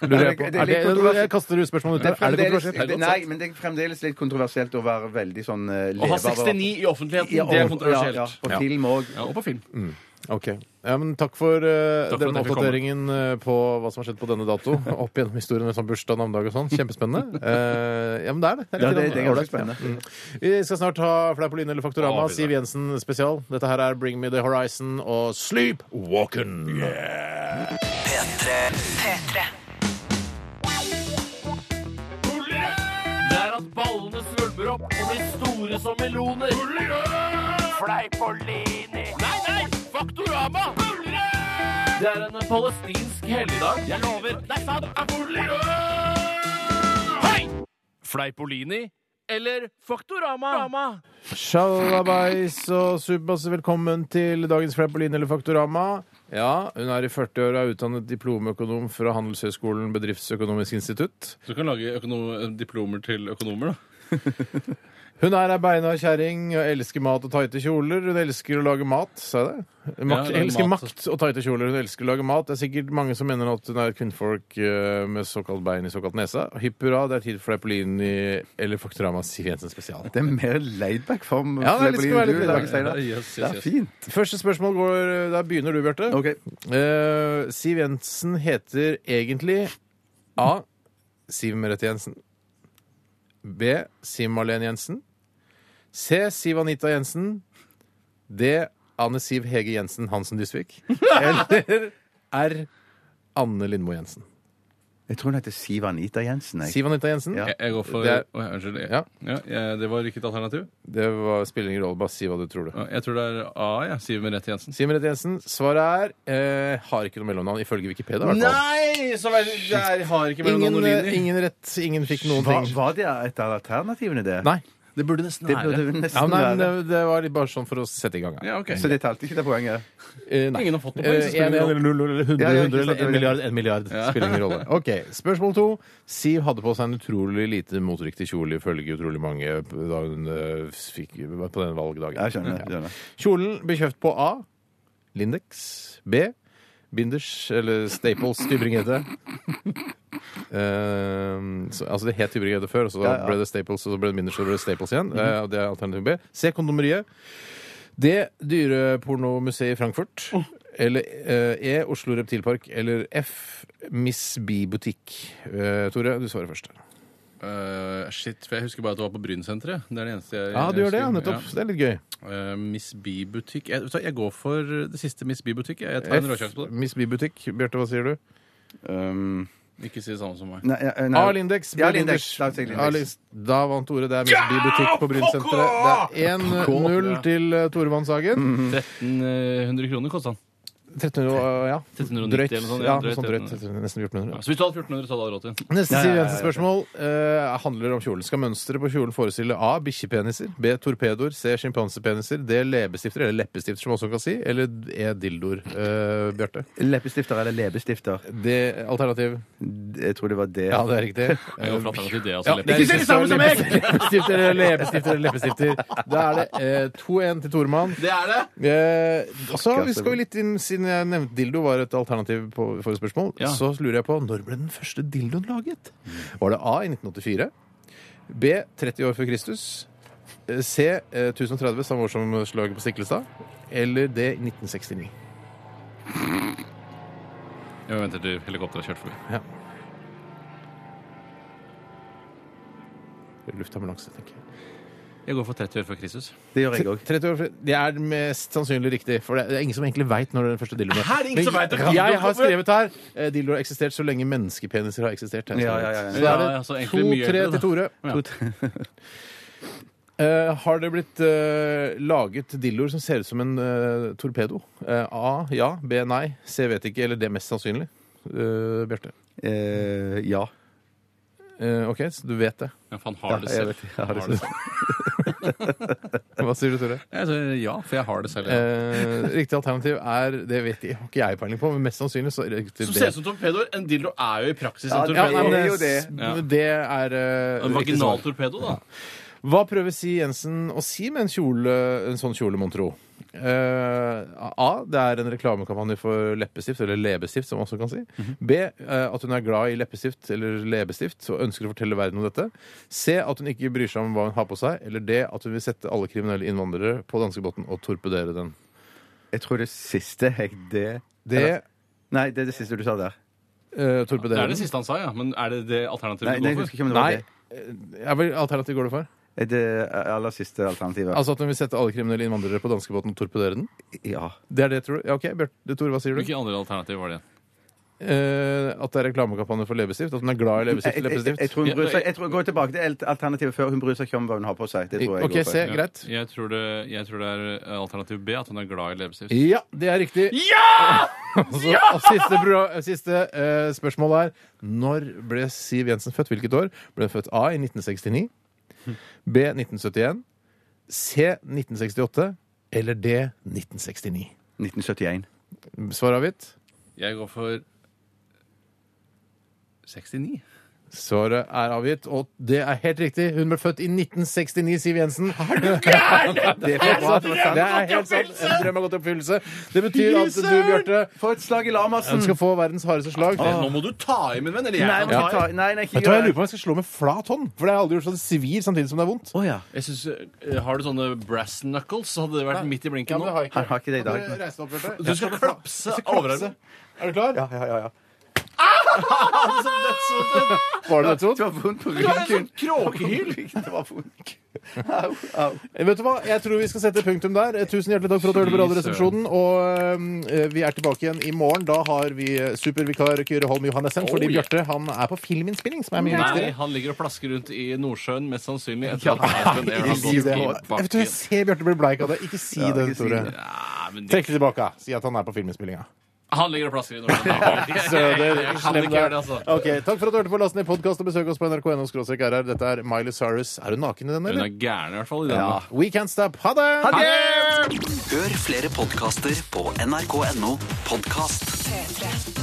Lurer jeg på. det Er er litt det, kontrovers- jeg kaster spørsmålet ut Det er her. Er det fremdeles, kontroversielt? det, nei, men det er fremdeles litt kontroversielt å være veldig sånn eh, Å lever ha 69 i offentligheten, Ja, det og- er kontroversielt. Ja, Ja, ja, på film òg. og på film. Ok. Ja, men takk for uh, Takk for den at jeg fikk oppdateringen eh, på hva som har skjedd på denne dato. Opp gjennom historien med sånn bursdag, navnedag og sånn. Kjempespennende. Eh, ja, men det er det. Det er, Ja, litt det, det er ganske ålreit. Mm. spennende. Vi skal snart ha Fleipolin eller Faktorama. Å, fy da. Siv Jensen spesial. Dette her er Bring Me The Horizon og Sleep Walken. P3. Det er at ballene svulmer opp og blir store som meloner. Fleipolini. Nei, nei! Faktorama. Det er en palestinsk helligdag. Jeg lover. Det er sant. Hei! Fleipolini eller Faktorama? Shalabais og Subas, velkommen til dagens Fleipolin eller Faktorama. Ja, hun er i 40-åra, utdannet diplomøkonom fra Handelshøyskolen Bedriftsøkonomisk institutt. Du kan lage økono- diplomer til økonomer, da. Hun er ei beina kjerring og elsker mat og tighte kjoler. Hun elsker å lage mat, sa jeg det? Makt, Ja, lage elsker mat. makt og tighte kjoler. Hun elsker å lage mat. Det er sikkert mange som mener at hun er et kvinnfolk eh, med såkalt bein i såkalt nese. Hipp hurra, det er tid for Leipolini eller Faktorama Siv Jensen spesial. Det er mer laidback form. Ja, det er litt Fleipolin, du, i skværlig i dag. dag, Steinar. Ja, yes, Det yes, er yes. fint. Første spørsmål går Der begynner du, Bjarte. OK. Eh, Siv Jensen heter egentlig A. Siv Merete Jensen. B. Siv Malene Jensen. C. Siv Anita Jensen. D. Anne Siv Hege Jensen Hansen Dysvik. Eller R. Anne Lindmo Jensen. Jeg tror hun heter Siv Anita Jensen. Jeg. Siv Anita Jensen. Ja. Jeg, jeg går for Det er- Å, ja, Unnskyld. Jeg, Ja. ja. jeg, det var ikke et alternativ. Det var, spiller ingen rolle, bare si hva du tror, du. Ja, Jeg tror det er A, jeg. Siv Merete Jensen. Siv Merete Jensen. Svaret er eh, har ikke noe mellomnavn, ifølge Wikipedia. i hvert fall. Nei! Så jeg, jeg har ikke mellom Ingen, noen eh, linjer. ingen rett. Ingen fikk noen Hva, ting. var det et av alternativene, det? Nei. Det burde nesten Det burde hun Ja, nesten nei, men det, være. det var litt bare sånn for å sette i gang. Ja. Ja, ok. Så det talte ikke det poenget? Eh, nei. Ingen har fått noe poeng, Eh, så en, spiller en, det eller null, eller hundre, Ja, ja, ikke hundre, eller sant, en det var milliard. En milliard Ja. spiller ingen rolle. Ok, Spørsmål to. Siv hadde på seg en utrolig lite moteriktig kjole ifølge utrolig mange da hun eh, fikk, på den valgdagen. Jeg skjønner. Ja. skjønner. Kjolen ble kjøpt på A. Lindex. B. Binders, eller Staples Tybring-Gjedde. Eh, så- altså Det het Tybring-Gjedde før, og så Ja, Mhm. ja. ble det Staples, og så ble det Binders, og så ble det Staples igjen. Eh, og det er alternativ B. C. Kondomeriet. D. Dyrepornomuseet i Frankfurt. Oh. Eller eh, E. Oslo Reptilpark. Eller F. Miss B-butikk. Eh, Tore, du svarer først. Eh, shit, for jeg husker bare at det var på Brynsenteret. Det er det eneste jeg Ja, du gjør jeg det, ja, husker. nettopp. Det er litt gøy. Eh, Miss B-butikk jeg, vet du hva, jeg går for det siste Miss B-butikk. Jeg, jeg tar en råsjanse på F. Miss B-butikk. Bjarte, hva sier du? Um, det. Ikke si det samme som meg. nei, ja, nei. A. Lindex. B. Ja, Lindex. Lindex. Da sier jeg A. Lindex. Lindex. Da vant Tore. Det er Miss Bibutikk på Brynsenteret. Det er 1-0 til eh, Tore Vanshagen. Mhm. 1300 kroner kosta den. 1300, og, eh, ja. 1390 Drøyt. eller noe sånt, Ja, ja, noe sånt drøyt. drøyt, 1300, Nesten 1400. Så hvis du hadde 1400, så hadde du hatt råd til den. Neste Ja, ja, Siv ja, Jensen spørsmål eh, handler om kjolen. Skal mønsteret på kjolen forestille A. Bikkjepeniser, B. Torpedoer, C. Sjimpansepeniser, D. Leppestifter, eller leppestifter, som man også kan si, eller E. Dildoer. Eh, Bjarte. Leppestifter eller leppestifter? Det alternativ Jeg tror det var det. Ja, det er riktig. Jeg går for alternativ D. Altså, Ja, leppestift. det er Leppestifter eller leppestifter eller leppestifter. Da er det eh, 2-1 til Toremann. Det er det. Eh, så ass, vi skal vi litt inn, Siden jeg nevnte dildo var et alternativ på, for et spørsmål, Ja. så lurer jeg på når ble den første dildoen laget? Mm. Var det A i 1984? B 30 år før Kristus? eh, C eh, 1030, samme år som slaget på Stiklestad? Eller D 1969? Jeg venter til helikopteret har kjørt forbi. Luftambulanse, tenker jeg. Jeg går for 30 år før Kristus. Det gjør jeg òg. 30 år, før- det er mest sannsynlig riktig, for det er ingen som egentlig veit når den første dildoen ble. Her er det ingen som Men vet at dildoen Jeg har kommer. skrevet her eh, dildo har eksistert så lenge menneskepeniser har eksistert. Ja, ja, ja, ja. Så da Ja, ja, så er det egentlig mye 2-3 til eldre, Tore. Ja. To- Eh, har det blitt eh, laget dildoer som ser ut som en eh, torpedo? Eh, A ja, B nei, C vet ikke, eller D mest sannsynlig? Eh, Bjarte. Eh, ja. Eh, OK, så du vet det. Ja, faen, har det jeg selv. vet, jeg har det det selv. selv. Hva sier du, Tore? Jeg sier ja, for jeg har det selv. Ja. Eh, riktig alternativ er Det vet jeg, har ikke jeg peiling på, men mest sannsynlig så er det Som riktig D. ser ut som torpedoer. En dildo er jo i praksis en Ja, Ja, torpedo. det nei, men er jo det, det. Ja. det er eh, En riktig svar. vaginal torpedo, da. Hva prøver Siv Jensen å si med en, kjole, en sånn kjole, mon tro? Eh, A. Det er en reklamekampanje for leppestift, eller leppestift, som man også kan si. B. eh, at hun er glad i leppestift eller leppestift og ønsker å fortelle verden om dette. C. At hun ikke bryr seg om hva hun har på seg. Eller D. At hun vil sette alle kriminelle innvandrere på danskebåten og torpedere den. Jeg tror det siste jeg det D. Nei, det er det siste du sa der. Uh, Det torpedere er det den. siste han sa, ja. Men er det det Nei, alternativet nei, du jeg går husker for? ikke om det var Nei. det. Ja, vel, alternativ går det for? Er det aller siste alternativet? Altså at hun vil sette alle kriminelle innvandrere på danskebåten og torpedere den? ja. Det er det, tror du? Ja, OK. Bjørn, Tore, hva sier du? Hvilke andre alternativ var det? eh, at det er reklamekampanje for leppestift? At hun er glad i leppestift? Jeg, jeg, jeg, jeg leppestift? tror hun bryr seg, jeg tror, går tilbake til alt- alternativet før. Hun bryr seg ikke om hva hun har på seg. Det tror jeg OK, går for. se. Greit. Jeg tror, det, jeg tror det er eh, alternativ B, at hun er glad i leppestift. Ja, det er riktig. Så, og siste, pro- siste eh, spørsmål er Når ble Siv Jensen født? Hvilket år? Ble hun født A i 1969? B 1971? C 1968? Eller D 1969? 1971. Svar avgitt? Jeg går for 69. Svaret er avgitt, og det er helt riktig. Hun ble født i 1969, Siv Jensen. Er du Det er for bra at det var Det sant. er helt sant. En drøm har gått i oppfyllelse. Det betyr at du, Bjarte, Få et slag i du Lamarsen! skal få verdens hardeste slag. Nå må du ta i, min venn. Eller jeg Nei, kan men ta ikke ta, nei, nei, ikke Ah. Vet du gjør hva, Jeg lurer på om jeg skal slå med flat hånd, for det har jeg aldri gjort så det svir samtidig som det er vondt. Å, ja. Jeg synes, eh, Har du sånne brass knuckles, så hadde det vært midt i blinken nå. Han har ikke det i dag. Kan du reise deg opp, Bjarte? Du skal klapse overarmen. Er du klar? Ja, ja, ja, ja. Var det Det dødsvondt? var vondt på Det er en ryggen. sånn kråkehyl! Det var vondt. Au, au. Eh, Vet du hva, jeg tror vi skal sette punktum der. Eh, Tusen hjertelig takk for at du hørte på Radioresepsjonen. Og eh, vi er tilbake igjen i morgen. Da har vi eh, supervikar Kyrre Holm Johannessen, fordi yeah. Bjarte han er på filminnspilling, som er mye Nei, viktigere. han ligger og plasker rundt i Nordsjøen, mest sannsynlig. Etter at Espen Air har Ikke si gått det. i Jeg vet du, jeg bakken. ser Bjarte blir bleik av det. Ikke si det, ikke si Tore. det. Nei, men det- Trekk det tilbake. Si at han er på filminnspillinga. Han ligger og plasker i Nordsjøen. Søder, Jeg kan slem ikke gjøre deg. det, altså. Ok, Takk for at du hørte på. Last ned podkast og besøk oss på nrk.no. RR. Dette er Miley Cyrus. Er hun naken i den, Hun eller? er gæren i hvert fall i den. da. We can't stop. Ha det! Ha det! Hør flere podkaster på nrk.no podkast. 3